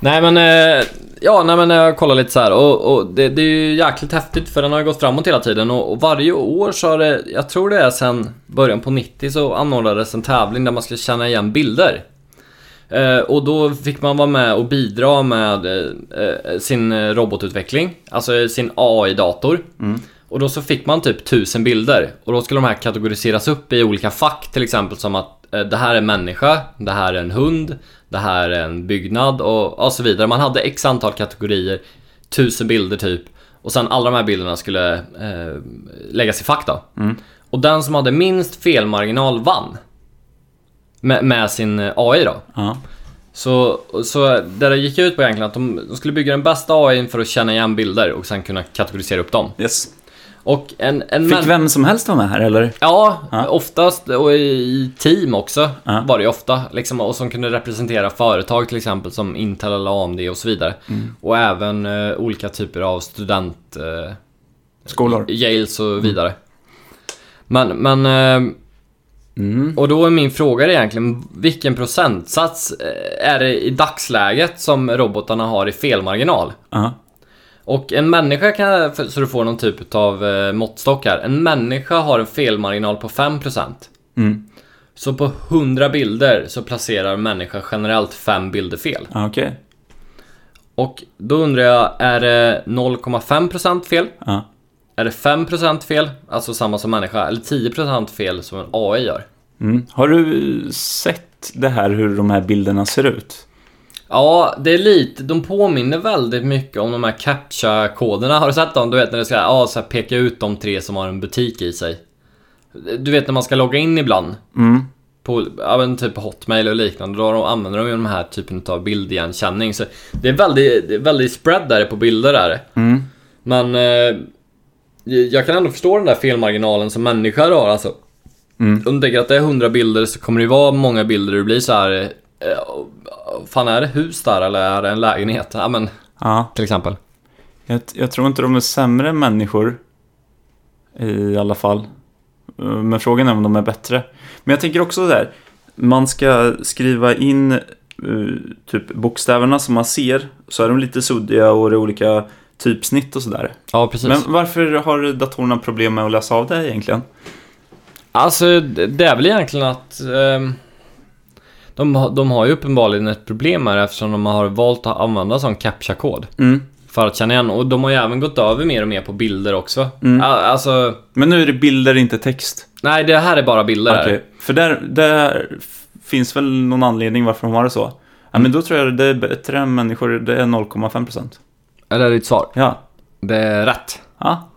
nej men, eh, ja nej men jag kollar lite så här och, och det, det är ju jäkligt häftigt för den har ju gått framåt hela tiden och, och varje år så har det, jag tror det är sen början på 90 så anordnades en tävling där man skulle känna igen bilder. Eh, och då fick man vara med och bidra med eh, eh, sin eh, robotutveckling, alltså sin AI-dator. Och då så fick man typ tusen bilder och då skulle de här kategoriseras upp i olika fack till exempel som att eh, det här är en människa, det här är en hund, det här är en byggnad och, och så vidare. Man hade x antal kategorier, tusen bilder typ och sen alla de här bilderna skulle eh, läggas i fack då. Och den som hade minst felmarginal vann. med, med sin eh, AI då. Ja. Så, så där det gick ut på egentligen att de, de skulle bygga den bästa AI för att känna igen bilder och sen kunna kategorisera upp dem. Yes. Och en, en Fick män- vem som helst vara med här eller? Ja, Ja. oftast och i team också Ja. var det ju ofta. Liksom, och som kunde representera företag till exempel som Intel eller AMD och så vidare. Mm. Och även eh, olika typer av student... Eh, Skolor. Yales och vidare. Men, men... eh, Mm. Och då är min fråga egentligen, vilken procentsats eh, är det i dagsläget som robotarna har i felmarginal? Ja. Och en människa kan, för- så du får någon typ av måttstock här. En människa har en felmarginal på 5%. Mm. Så på 100 bilder så placerar en människa generellt 5 bilder fel. Ja, Okej. Och då undrar jag, är det 0,5% fel? Ja. Är det 5% fel, alltså samma som människa, eller 10% fel som en AI gör? Mm. Har du sett det här hur de här bilderna ser ut? Ja, det är lite, de påminner väldigt mycket om de här CAPTCHA-koderna. Har du sett dem? Du vet när det ska, ja, så här, peka ut de tre som har en butik i sig. Du vet när man ska logga in ibland. Mm. På, ja men typ Hotmail och liknande. Då har de- använder de ju den här typen av bildigenkänning. Så det är väldigt, det är väldigt spread där på bilder där. Mm. Men eh, jag kan ändå förstå den där felmarginalen som människor har alltså. Mm. Om du tänker att det är 100 bilder så kommer det ju vara många bilder det blir så här. Eh, fan är det hus där eller är det en lägenhet? Ja men Ja. till exempel. Jag, jag tror inte de är sämre än människor. I alla fall. Eh, Men frågan är om de är bättre. Men jag tänker också där. Man ska skriva in eh, typ bokstäverna som man ser. Så är de lite suddiga och det är olika typsnitt och sådär. Ja precis. Men varför har datorerna problem med att läsa av det egentligen? Alltså det det är väl egentligen att ehm, de, har- de har ju uppenbarligen ett problem här eftersom de har valt att använda sån CAPTCHA-kod Mm. för att känna igen. Och de har ju även gått över mer och mer på bilder också. Mm. Ja, Alltså, Men nu är det bilder, inte text. nej det här är bara bilder här. Okej, För där, där f- finns väl någon anledning varför de har det så. Ja, men då tror jag det är bättre än människor. Det är 0,5%. Eller är det ditt svar? Ja. Det är rätt. Ja.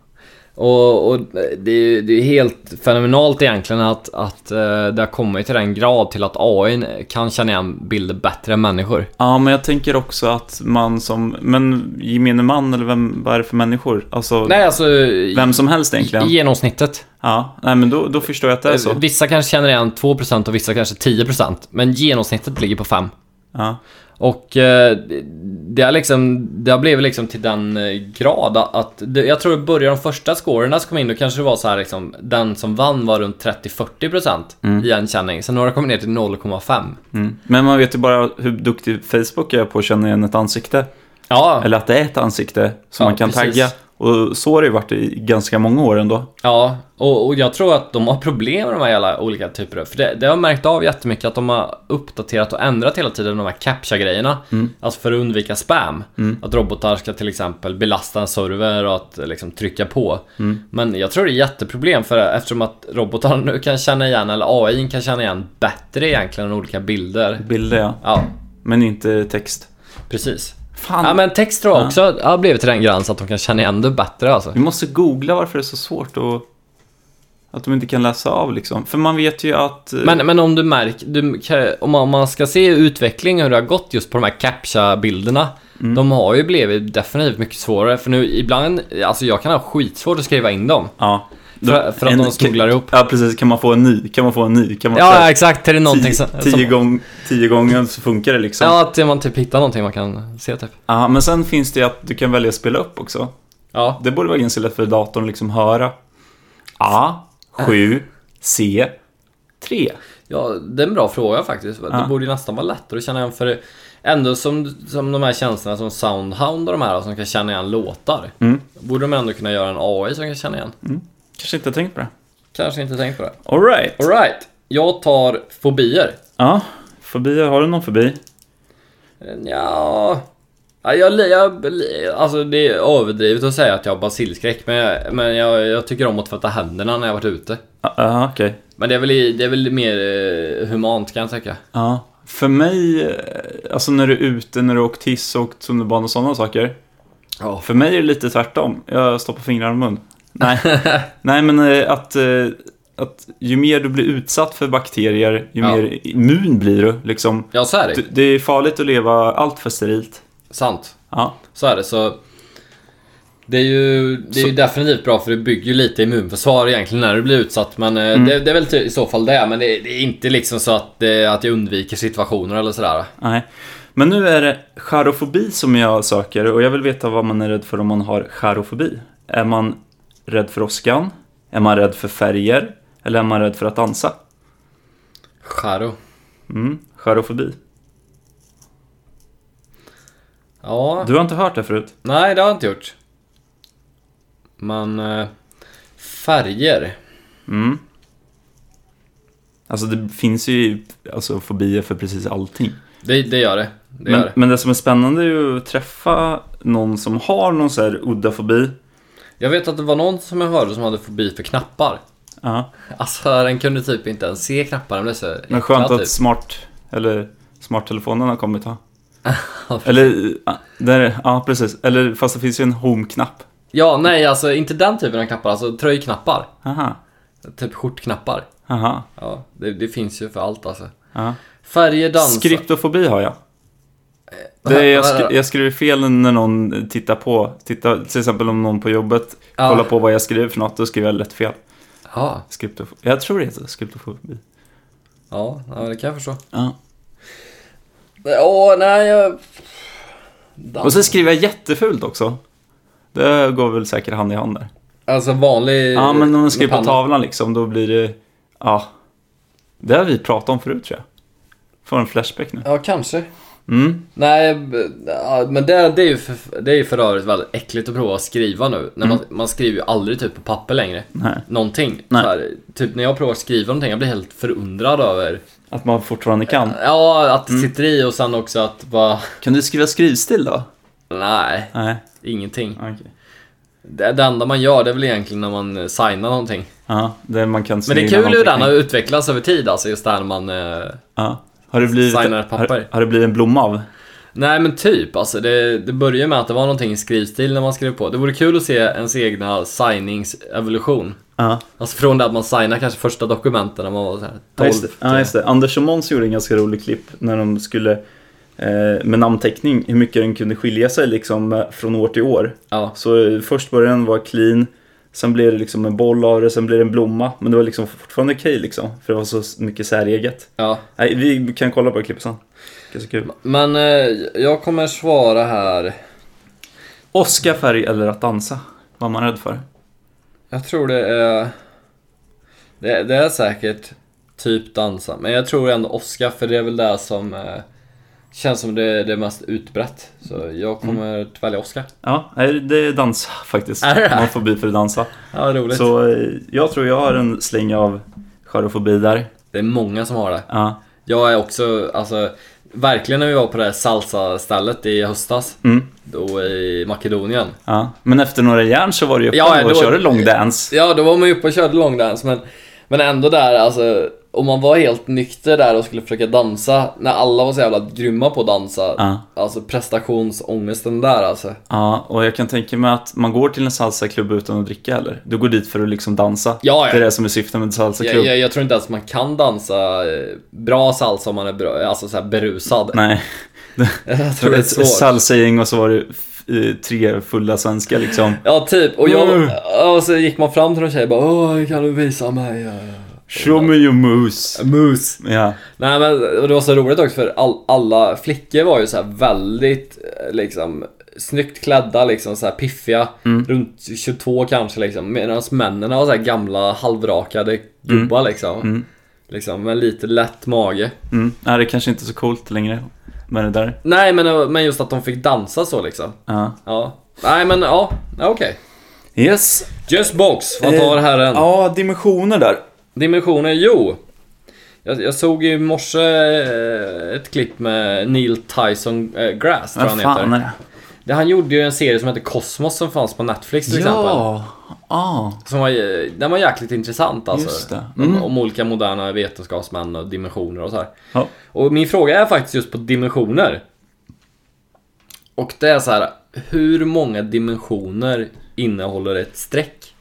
Och, och det, är, ju- det är helt fenomenalt egentligen att, att eh, det har kommit till den grad till att AI kan känna igen bilder bättre än människor. Ja, men jag tänker också att man som... Men gemene man, eller vem, vad är det för människor? Alltså, Nej, alltså... i- vem som helst egentligen. I genomsnittet. Ja, nej men då, då förstår jag att det är så. Eh, Vissa kanske känner igen 2% och vissa kanske 10%. Men genomsnittet ligger på 5%. Ja. Och eh, det- det har liksom, det har blivit liksom till den eh, grad att, det, jag tror i början de första scorerna som kom in då kanske det var så här liksom, den som vann var runt 30-40% igenkänning. Sen har det kommit ner till 0,5. Mm. Men man vet ju bara hur duktig Facebook är på att känna igen ett ansikte. Ja, Eller att det är ett ansikte som Ja, man kan precis. tagga. Och så har det ju varit i ganska många år ändå. ja och, och jag tror att de har problem med de här jävla olika typerna. För det, det har jag märkt av jättemycket att de har uppdaterat och ändrat hela tiden de här captcha-grejerna. Alltså för att undvika spam. Att robotar ska till exempel belasta en server och att eh, liksom trycka på. Men jag tror det är jätteproblem för eftersom att robotar nu kan känna igen, eller AI kan känna igen bättre egentligen än olika bilder. Bilder ja, Ja, men inte text. precis. Fan, Ja men text tror jag också har blivit till den gränsen att de kan känna igen det bättre alltså. vi måste googla varför det är så svårt att... Att de inte kan läsa av liksom. För man vet ju att... eh, Men, men om du märker, du, kan- om man- om man ska se utvecklingen hur det har gått just på de här captcha-bilderna. Mm. De har ju blivit definitivt mycket svårare för nu ibland, alltså jag kan ha skitsvårt att skriva in dem. Ja. För- för att de smugglar ihop. Ja, precis. Kan man få en ny? Kan man få en ny? Kan man Ja Alltså, exakt, är det någonting tio, som... tio, som gång, tio gånger så funkar det liksom. Ja. ja, att man typ hittar någonting man kan se typ. men sen finns det ju att du kan välja att spela upp också. Ja, Det borde vara ganska lätt för datorn att liksom höra. A, 7, C, 3. ja det är en bra fråga faktiskt. Ja. Det borde ju nästan vara lättare att känna igen för det- ändå som, som de här tjänsterna som Soundhound och de här alltså, som kan känna igen låtar. Mm. Borde de ändå kunna göra en AI som kan känna igen. Kanske inte har tänkt på det. Kanske inte tänkt på det. Alright. Alright, jag tar fobier. Ja, fobier. Har du någon fobi? Ja, ja jag, li- jag, li- alltså det är överdrivet att säga att jag har basilskräck men, jag, men jag, jag tycker om att tvätta händerna när jag varit ute. Ja, Ja, okej. Men det är väl, i- det är väl mer eh, humant kan jag tycka. Ja. För mig, eh, alltså när du är ute, när du har åkt hiss och åkt tunnelbana och sådana saker. Ja. För mig är det lite tvärtom. Jag stoppar fingrarna i mun. Nej, Nej men eh, att, eh, att ju mer du blir utsatt för bakterier, ju Ja. mer immun blir du. Liksom. Ja, så är det. Du- Det är farligt att leva allt för sterilt. Sant. Ja. Så är det. Så det är ju, det är ju Så- definitivt bra för det bygger ju lite immunförsvar egentligen när du blir utsatt. Men eh, det, det är väl ty- i så fall det. Men det, det är inte liksom så att, det, att jag undviker situationer eller sådär. Nej. Men nu är det charofobi som jag söker och jag vill veta vad man är rädd för om man har charofobi. Är man rädd för åskan? Är man rädd för färger? Eller är man rädd för att dansa? Charo. Mm, charofobi. Ja. Du har inte hört det förut? Nej, det har jag inte gjort. Men... Eh, färger. Mm. Alltså det finns ju alltså, fobier för precis allting. Det, det gör det. Det men, gör det. men det som är spännande är ju att träffa någon som har någon så här udda fobi. Jag vet att det var någon som jag hörde som hade fobi för knappar. Ja. Alltså den kunde typ inte ens se knapparna. Den blev så Men äcklad, skönt att typ. smart, eller smarttelefonen har kommit ha. Ja, Eller, ja, där, ja precis. Eller fast det finns ju en home-knapp. Ja, nej alltså inte den typen av knappar. Alltså tröjknappar. Aha, Typ skjortknappar. aha. Ja, det, det finns ju för allt alltså. Ja. Färger, dansa. Eh, Skriptofobi har jag. Det är, jag, skri- jag skriver fel när någon tittar på. Tittar, till exempel om någon på jobbet Ja. kollar på vad jag skriver för något, då skriver jag lätt fel. Ja, Skriptof- jag tror det heter skriptofobi. ja, ja, det kan jag förstå. Ja. Åh, nej jag... Och så skriver jag jättefult också. Det går väl säkert hand i hand där. Alltså vanlig... Ja, men om man skriver på panna. tavlan liksom, då blir det... Ja. Det har vi pratat om förut tror jag. Får en flashback nu. Ja, kanske. Mm. Nej, b- ja, men det, det är ju för, det är ju för övrigt väldigt äckligt att prova att skriva nu. När man, man skriver ju aldrig typ på papper längre. Nej. Någonting. Mm. Nej. Så här, typ när jag provar att skriva någonting, jag blir helt förundrad över Att man fortfarande kan. Ja, att det Mm. sitter i och sen också att bara... Kan du skriva skrivstil då? Nej, Nej, ingenting. okej. Det, det enda man gör det är väl egentligen när man eh, signar någonting. Ja, det man kan Men det är signa kul hur den någonting. har utvecklats över tid alltså, just det här när man... Eh... Ja. Har det blivit, signar papper. har, har det blivit en blomma av? Nej men typ, alltså det, det börjar med att det var någonting i skrivstil när man skrev på. Det vore kul att se ens egna signingsevolution. Ja, Alltså från det att man signar kanske första dokumenten när man var så här typ. 12. ja, just, det. ja just det. Anders och Måns gjorde en ganska rolig klipp när de skulle eh, med namnteckning, hur mycket den kunde skilja sig liksom eh, från år till år. Ja. Så eh, först började den vara clean, sen blev det liksom en boll av det, sen blev det en blomma. Men det var liksom fortfarande okej liksom, för det var så mycket säreget. ja. Nej, vi kan kolla på klippet sen. Ganska kul. Men eh, jag kommer svara här. Oskar färg eller att dansa? Vad är man rädd för? Jag tror det är... Det, det är säkert typ dansa, men jag tror ändå Oscar för det är väl det som eh, känns som det, det mest utbrett. Så jag Mm. kommer att välja Oscar. Ja, nej, det är dansa faktiskt. Är det det? Man får bi för att dansa. Ja, roligt. Så eh, jag tror jag har en släng av scharofobi där. Det är många som har det. Ja. Jag är också, alltså, verkligen när vi var på det här salsa-stället i höstas, Mm. då i Makedonien. Ja. Men efter några järn så var det ju uppe Ja, ja, och då- körde långdance. Ja, då var man ju uppe och körde långdans, men, men ändå där, alltså, om man var helt nykter där och skulle försöka dansa, när alla var så jävla grymma på att dansa, Ja. alltså prestationsångesten där alltså. ja, och jag kan tänka mig att man går till en salsaklubb utan att dricka eller? Du går dit för att liksom dansa. Ja, ja. Det är det som är syftet med en salsaklubb. Jag, jag, jag tror inte ens man kan dansa eh, bra salsa om man är bra, alltså så här berusad. Nej. Jag tror det är svårt. Salsing och så var det f- eh, tre fulla svenskar liksom. ja, typ. Och, jag, Mm. och så gick man fram till någon tjej och bara Åh, kan du visa mig? eh, Show me your moves. Moose. Ja. Nej men och det var så roligt också för all, alla flickor var ju så här väldigt eh, liksom snyggt klädda liksom så här piffiga Mm. runt 22 kanske liksom medan männen var så här gamla Mm. halvrakade gubbar liksom. Liksom med lite lätt mage. Mm. Nej, det kanske inte är så coolt längre med det där. Nej men, men just att de fick dansa så liksom. Ja. Ja. Nej men ja, ja, okej. Yes. Just box, vad tar Eh, herren? Ja, dimensioner där. Dimensioner, jo. Jag, jag såg i morse eh, ett klipp med Neil Tyson eh, Grass tror jag Vad han fan heter. är det? Det, han gjorde ju en serie som hette Kosmos som fanns på Netflix till exempel. Ja, ah, Som var, eh, den var jäkligt intressant alltså. Just det. Om- Mm. Om, olika moderna vetenskapsmän och dimensioner och så här. ja. Och min fråga är faktiskt just på dimensioner. Och det är så här, hur många dimensioner innehåller ett streck?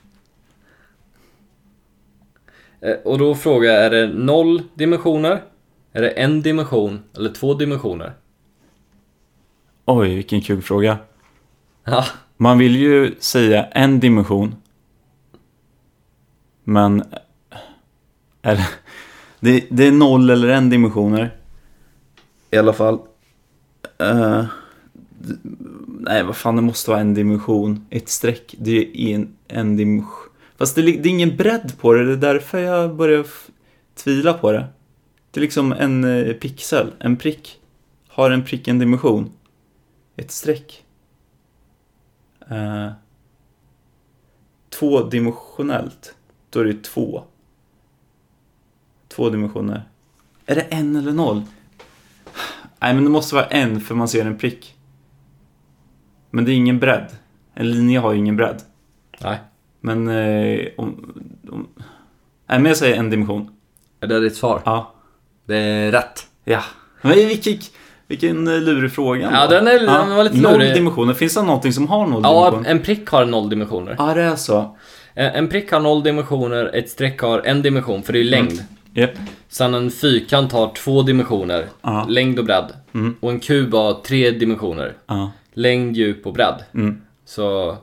Eh, Och då frågar jag, är det noll dimensioner? Är det en dimension eller två dimensioner? Oj, vilken kul fråga. Ja, Man vill ju säga en dimension. Men... Är det, det, det är noll eller en dimensioner. I alla fall. Eh, d- nej, vad fan, det måste vara en dimension. Ett streck, det är en, en dimension. Fast det, li- det är ingen bredd på det, det är därför jag börjar f- tvivla på det. Det är liksom en eh, pixel, en prick. Har en prick en dimension? Ett streck? Eh, tvådimensionellt, då är det ju två. Två dimensioner. Är det en eller noll? Nej, men det måste vara en för man ser en prick. Men det är ingen bredd. En linje har ju ingen bredd. nej. Men eh, om... om... Nej, men jag säger en dimension. Är det ditt svar? Ja. Det är rätt. Ja. Men vilken, vilken eh, lurig fråga. Ja, ändå. den är- den var lite Noll lurig. dimensioner. Finns det någonting som har noll Ja, dimensioner? en prick har noll dimensioner. Ja, det är så. Eh, En prick har noll dimensioner, ett streck har en dimension, för det är Mm. ju längd. Japp. Sen en fyrkant har två dimensioner, Ja. Mm. längd och bredd. Och en kub har tre dimensioner, Ja. längd, djup och bredd. Mm. Så...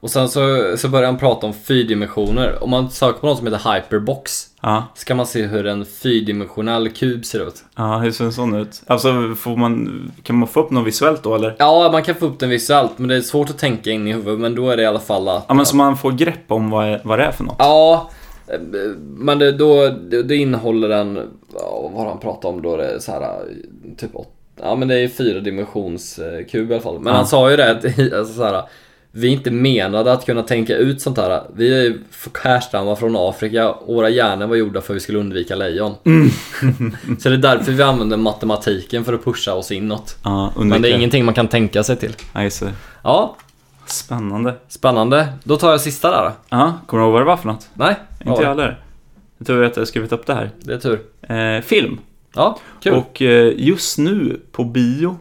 Och sen så, så börjar han prata om fyrdimensioner. Om man söker på något som heter hyperbox Ja. så kan man se hur en fyrdimensionell kub ser ut. Ja, hur ser en sån ut? Alltså, får man, kan man få upp något visuellt då eller? Ja, man kan få upp den visuellt, men det är svårt att tänka in i huvudet. Men då är det i alla fall att... Ja, men så man får grepp om vad, är- vad det är för något? Ja, eh, men det, då, det, det innehåller en, ja, vad har han pratat om då, det är så här, eh, typ åt, ja men det är fyra dimensionskub i alla fall. Men han sa ju det, att, alltså så här, vi är inte menade att kunna tänka ut sånt här. Vi är ju f- härstammar från Afrika och våra hjärnor var gjorda för att vi skulle undvika lejon. Mm. så det är därför vi använder matematiken för att pusha oss inåt. Ja, Men det är undviker. ingenting man kan tänka sig till. Ja, just det. Ja, Spännande. spännande. Då tar jag sista där då. Ja, kommer du ihåg vad det var för något? Nej? Inte jag heller. Jag tror att jag har skrivit upp det här. Det är tur. Eh, film. Ja, kul. Och eh, just nu på bio.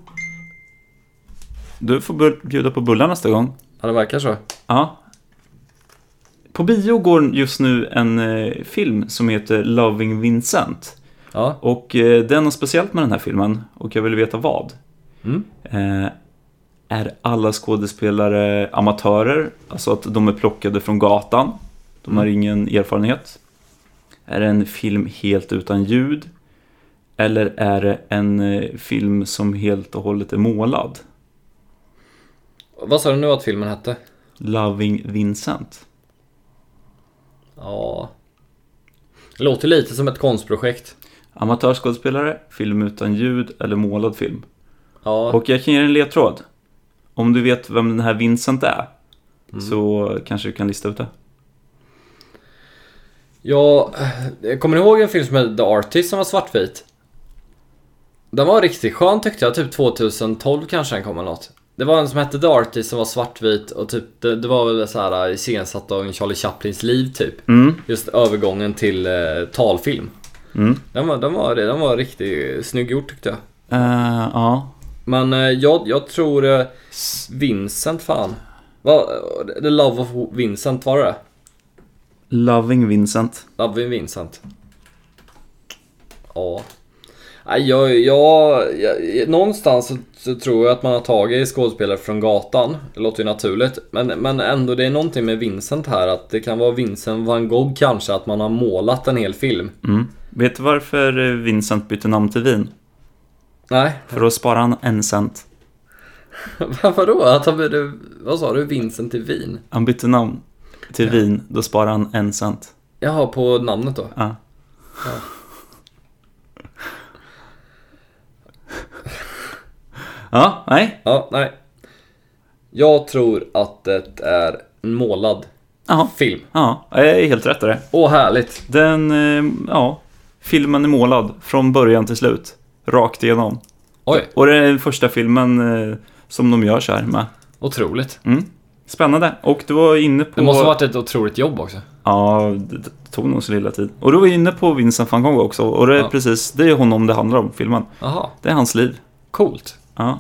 Du får bu- bjuda på bullar nästa gång. Ja, det verkar så. Ja. På bio går just nu en eh, film som heter Loving Vincent. Ja, Och eh, det är något speciellt med den här filmen och jag vill veta vad. Mm. Eh, är alla skådespelare amatörer? Alltså att de är plockade från gatan? De har ingen erfarenhet? Är det en film helt utan ljud? Eller är det en eh, film som helt och hållet är målad? vad sa du nu att filmen hette? Loving Vincent. Ja... Det låter lite som ett konstprojekt. Amatörskådespelare, film utan ljud eller målad film? Ja, Och jag kan ge dig en ledtråd. Om du vet vem den här Vincent är Mm. så kanske du kan lista ut det. jag, jag eh, kommer ihåg en film som hette The Artist som var svartvit. Den var riktigt skön tyckte jag, typ 2012 kanske den kom eller något. Det var en som hette The Artist som var svartvit och typ det, det var väl så här eh, iscensatt av en Charlie Chaplins liv typ. Just övergången till eh, talfilm. Mm. Den var, den var, den var riktigt snygg gjort tyckte jag. Eh, ja. Men eh, jag, jag tror eh, Vincent fan. Va, eh, the Love of Vincent var det det Loving Vincent. Love of Vincent. Ja. Nej, jag, jag, jag, någonstans så, så tror jag att man har tagit skådespelare från gatan. Det låter ju naturligt. Men, men ändå, det är någonting med Vincent här. Att det kan vara Vincent van Gogh kanske, att man har målat en hel film. Mm. Vet du varför eh, Vincent bytte namn till Vin? Nej, För att spara han en cent. vadå? Att han, blev- vad sa du? Vincent i Wien? Han bytte namn till Vin, då sparar han en cent. Jaha, på namnet då? Ja. ja, nej. Ja, nej. Jag tror att det är en målad Jaha. film. Ja, jag är helt rätt där. Åh, härligt. Den, eh, ja, filmen är målad från början till slut. Rakt igenom. Oj, Och det är den första filmen eh, som de gör så här med. otroligt. Mm. Spännande. Och du var inne på... Det måste ha varit ett otroligt jobb också. Ja, det det tog nog så lilla tid. Och du var inne på Vincent van Gogh också. Och det är Ja. precis, det är honom det handlar om, filmen. Jaha, Det är hans liv. coolt. Ja.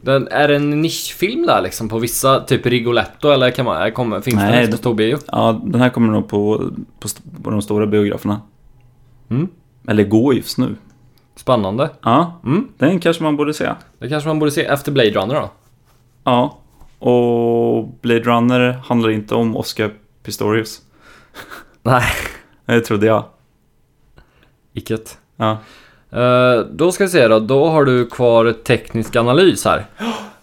Den, är det en nischfilm där liksom på vissa, typ Rigoletto eller kan man, kommer, finns Nej, den ens det- på stor bio? Ja, den här kommer nog på, på, st- på de stora biograferna. Mm. Eller går just nu. Spännande. Ja, Mm. den kanske man borde se. Det kanske man borde se efter Blade Runner då? Ja, och Blade Runner handlar inte om Oscar Pistorius. Nej. Det trodde jag. Icket. Ja. Eh, då ska vi se då, då har du kvar teknisk analys här.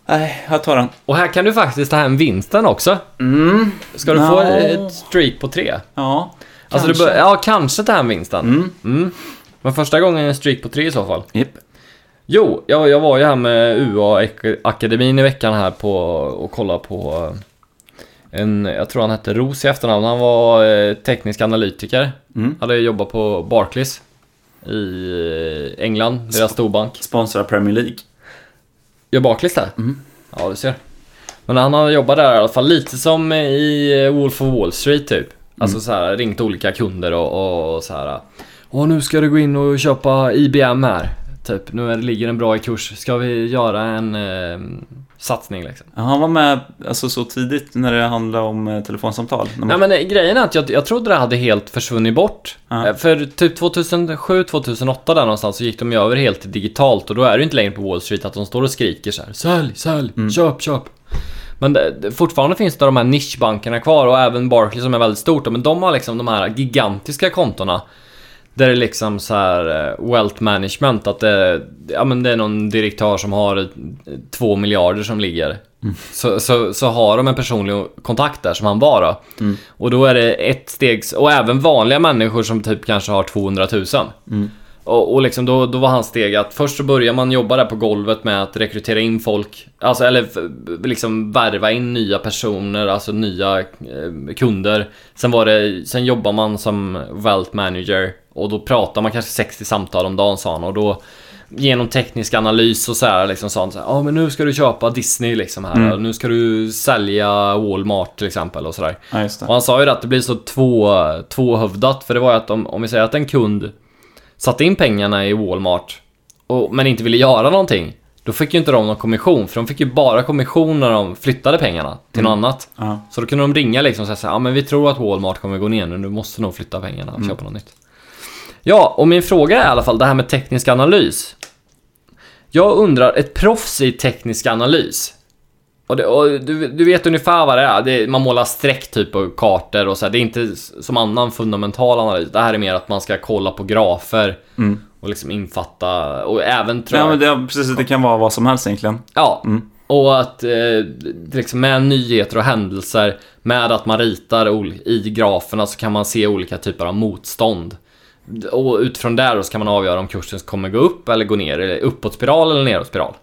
Nej, jag tar den. Och här kan du faktiskt ta hem vinsten också. Mm. Ska du No. få ett streak på tre? Ja, Alltså du Kanske. bör, ja, kanske ta hem vinsten. Mm. Men första gången en streak på tre i så fall. Japp. Jo, jag, jag var ju här med UA-akademin i veckan här på och kollade på eh, en, jag tror han hette Ros i efternamn, han var eh, teknisk analytiker. Mm. Hade jobbat på Barclays i eh, England, deras storbank. Sponsrar Premier League. Gör Barclays där? Ja, du ser. Men han har jobbat där i alla fall, lite som i eh, Wolf of Wall Street typ. Alltså så här, ringt olika kunder och, och så här. Åh, nu ska du gå in och köpa IBM här. Typ, nu är det, ligger den bra i kurs. Ska vi göra en eh, satsning liksom? Ja, Han var med alltså, så tidigt när det handlade om eh, telefonsamtal. När man... Nej men eh, grejen är att jag, jag trodde det hade helt försvunnit bort. Ja. Eh, För typ 2007, 2008 där någonstans så gick de ju över helt till digitalt och då är det ju inte längre på Wall Street att de står och skriker så här. Sälj, sälj, köp, köp. Men det, det, fortfarande finns det de här nischbankerna kvar och även Barclays som är väldigt stort. då, Men de har liksom de här gigantiska kontona. Där det är liksom så här eh, wealth management att det, ja, men det är någon direktör som har eh, två miljarder som ligger. Så, så, så har de en personlig kontakt där som han var då. Och då är det ett stegs och även vanliga människor som typ kanske har 200 000. Och, och liksom då, då var hans steg att först så börjar man jobba där på golvet med att rekrytera in folk, alltså eller f- liksom värva in nya personer, alltså nya eh, kunder. Sen var det, sen jobbar man som wealth manager och då pratar man kanske 60 samtal om dagen sa han och då genom teknisk analys och så här liksom sa han så här, ja men nu ska du köpa Disney liksom här, och nu ska du sälja Walmart till exempel och sådär. Ja, just det. Och han sa ju det att det blir så två, tvåhövdat. För det var ju att om, om vi säger att en kund satte in pengarna i Walmart och, men inte ville göra någonting. Då fick ju inte de någon kommission. För de fick ju bara kommission när de flyttade pengarna till något Mm. annat. Ja. Så då kunde de ringa liksom och säga ja men vi tror att Walmart kommer gå ner nu. Du måste nog flytta pengarna Mm. och köpa något nytt. Ja, och min fråga är i alla fall det här med teknisk analys. Jag undrar, ett proffs i teknisk analys. Och det, och du, du vet ungefär vad det är. Det, är- man målar streck typ och kartor och så här. Det är inte s- som annan fundamental analys. Det här är mer att man ska kolla på grafer och liksom infatta och även tror Mm. Nej, jag... men det, ja, precis, det kan vara vad som helst egentligen. Ja. Och att eh, liksom med nyheter och händelser, med att man ritar ol- i graferna så kan man se olika typer av motstånd. Och utifrån där då så kan man avgöra om kursen kommer gå upp eller gå ner, eller uppåt spiral eller neråt spiral.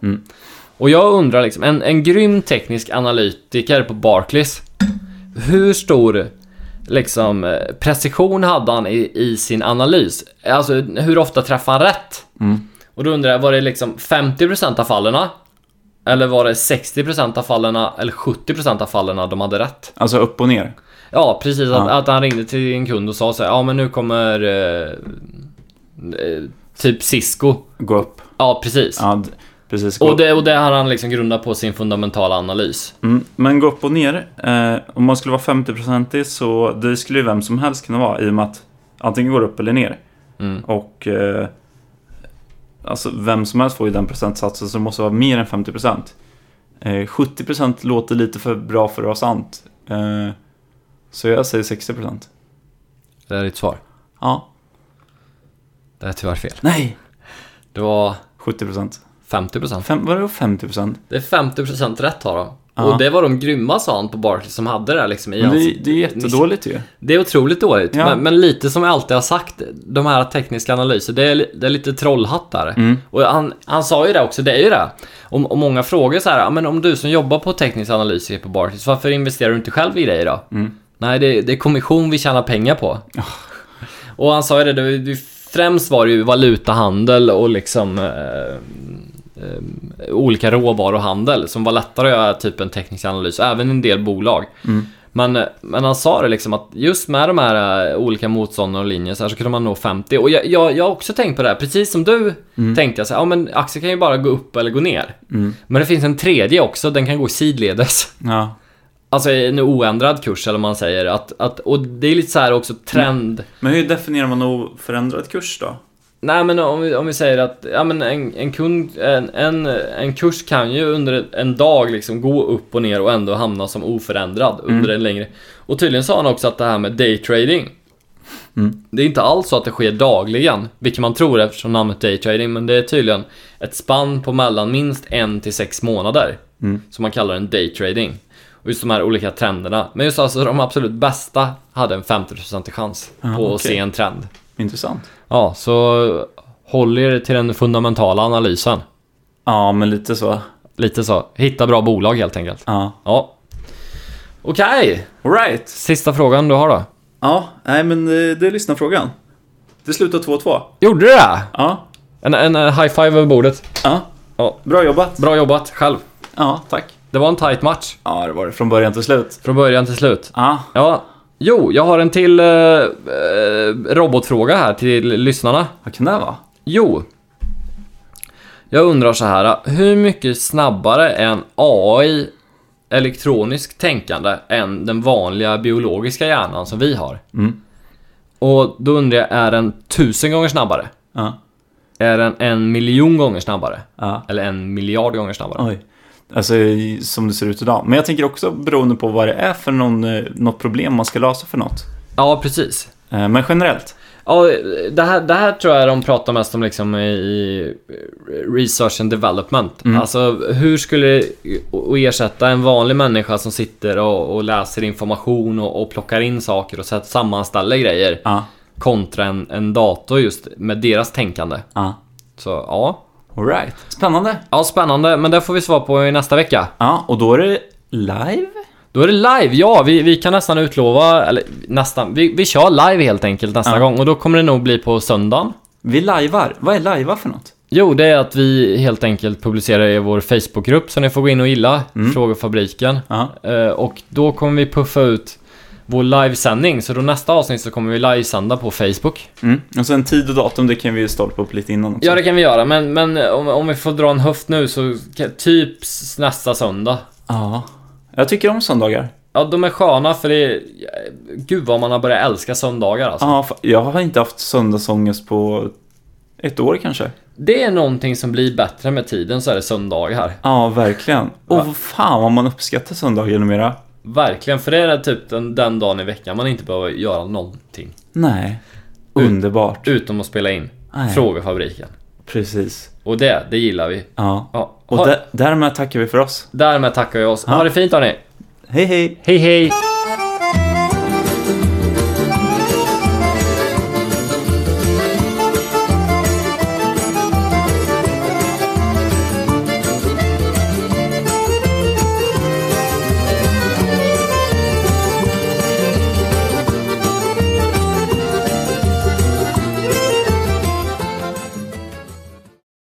Och jag undrar liksom, en, en grym teknisk analytiker på Barclays, hur stor liksom, eh, precision hade han i, i sin analys? Alltså hur ofta träffade han rätt? Och då undrar jag, var det liksom 50% av fallen? Eller var det 60% av fallen eller 70% av fallen de hade rätt? Alltså upp och ner. Ja, precis. Att, Ja. att han ringde till en kund och sa så här, ja men nu kommer eh, eh, typ Cisco. Gå upp. Ja, precis. Ja, d- precis. Gå Och upp. det, och det har han liksom grundat på sin fundamentala analys. Mm, men gå upp och ner. Eh, om man skulle vara 50-procentig så det skulle ju vem som helst kunna vara i och med att antingen går upp eller ner. Mm. Och eh, alltså vem som helst får ju den procentsatsen så det måste vara mer än 50%. Eh, 70% låter lite för bra för att vara sant. Eh, så jag säger 60%. Det är ditt svar. Ja. Det är tyvärr fel. Nej! Det var 70%. 50%. Fem, var det 50%? Det är 50% rätt har de. Ja. Och det var de grymma sa han på Barclays som hade det här liksom i Men hans det, det är jättedåligt ju. Det är otroligt dåligt, Ja. men, men lite som jag alltid har sagt, de här tekniska analyser, det är, li- det är lite trollhatt där. Och han, han sa ju det också, det är ju det. Om, om många frågar så här, "Ja, men om du som jobbar på teknisk analys är på Barclays, varför investerar du inte själv i dig då? Nej, det, det är kommission vi tjänar pengar på. Och han sa ju det, det, det främst var det ju valutahandel och liksom eh, eh, olika råvaruhandel som var lättare att göra typ en teknisk analys, även en del bolag. Men, men han sa det liksom att just med de här eh, olika motstånden och linjer så, här så kunde man nå 50. Och jag, jag, jag har också tänkt på det här, precis som du tänkte jag så här, ja men Axel kan ju bara gå upp eller gå ner. Mm. Men det finns en tredje också, den kan gå sidledes. Ja. Alltså en oändrad kurs eller vad man säger. Att, att, och det är lite så här också trend. Men hur definierar man oförändrad kurs då? Nej men om vi, om vi säger att ja, men en, en, kund, en, en, en kurs kan ju under en dag liksom gå upp och ner och ändå hamna som oförändrad under en längre... Och tydligen sa han också att det här med daytrading Mm. Det är inte alls så att det sker dagligen, vilket man tror eftersom namnet daytrading, men det är tydligen ett spann på mellan minst en till sex månader. Mm. Som man kallar en daytrading. Och just de här olika trenderna. Men just alltså de absolut bästa hade en 50% chans Ah, på att okej. se en trend. Intressant. Ja, så håll er till den fundamentala analysen. Ja, men lite så. Lite så. Hitta bra bolag helt enkelt. Ja. Ja. Okej, All right. sista frågan du har då. Ja, nej men eh, det är lyssnarfrågan. Det slutar 2-2. Gjorde du det? Ja, En, en eh, high five över bordet. ja. Ja. Bra jobbat. Bra jobbat själv. Ja, tack. Det var en tight match Ja, det var det från början till slut. från början till slut. Ja, Ja. Jo, jag har en till eh, eh, robotfråga här till lyssnarna. vad kan det vara? Jo. Jag undrar så här, hur mycket snabbare är en AI elektroniskt tänkande än den vanliga biologiska hjärnan som vi har? Mm. Och då undrar jag, är den tusen gånger snabbare? Ja, Är den en miljon gånger snabbare? ja. Eller en miljard gånger snabbare? Oj. Alltså i- som det ser ut idag. Men jag tänker också beroende på vad det är för någon, eh, något problem man ska lösa för något. Ja, precis. Eh, Men generellt. Ja, det här, det här tror jag de pratar mest om liksom i research and development. Mm. Alltså hur skulle och ersätta en vanlig människa som sitter och, och läser information och, och plockar in saker och sätt- sammanställer grejer Ja, kontra en, en dator just med deras tänkande. ja. Så ja. All right. Spännande. Ja, spännande, men det får vi svar på i nästa vecka. Ja, och då är det live? Då är det live, ja vi, vi kan nästan utlova, eller nästan, vi, vi kör live helt enkelt nästa Ja. gång och då kommer det nog bli på söndagen. Vi lajvar. Vad är lajva för något? Jo, det är att vi helt enkelt publicerar i vår Facebookgrupp så ni får gå in och gilla Frågefabriken. Ja. Eh, Och då kommer vi puffa ut vår livesändning, så då nästa avsnitt så kommer vi livesända på Facebook. Mm. Och sen tid och datum, det kan vi ju stolpa upp lite innan också. Ja, det kan vi göra, men, men om, om vi får dra en höft nu så kan- typ s- nästa söndag. Ja. Jag tycker om söndagar. Ja, de är sköna för det är... Gud vad man har börjat älska söndagar alltså. Ja, fa- jag har inte haft söndagsångest på ett år kanske. Det är någonting som blir bättre med tiden så är det söndagar. Ja, verkligen. Och vad fan vad man uppskattar söndagar numera. Verkligen, för det är typ den, den dagen i veckan man inte behöver göra någonting. Nej. Underbart. Utom att spela in Nej. Frågefabriken. Precis. Och det, det gillar vi. Ja. Ja. Och ha, dä- därmed tackar vi för oss. Därmed tackar vi oss. Ha det fint hörni. Hej hej! Hej hej!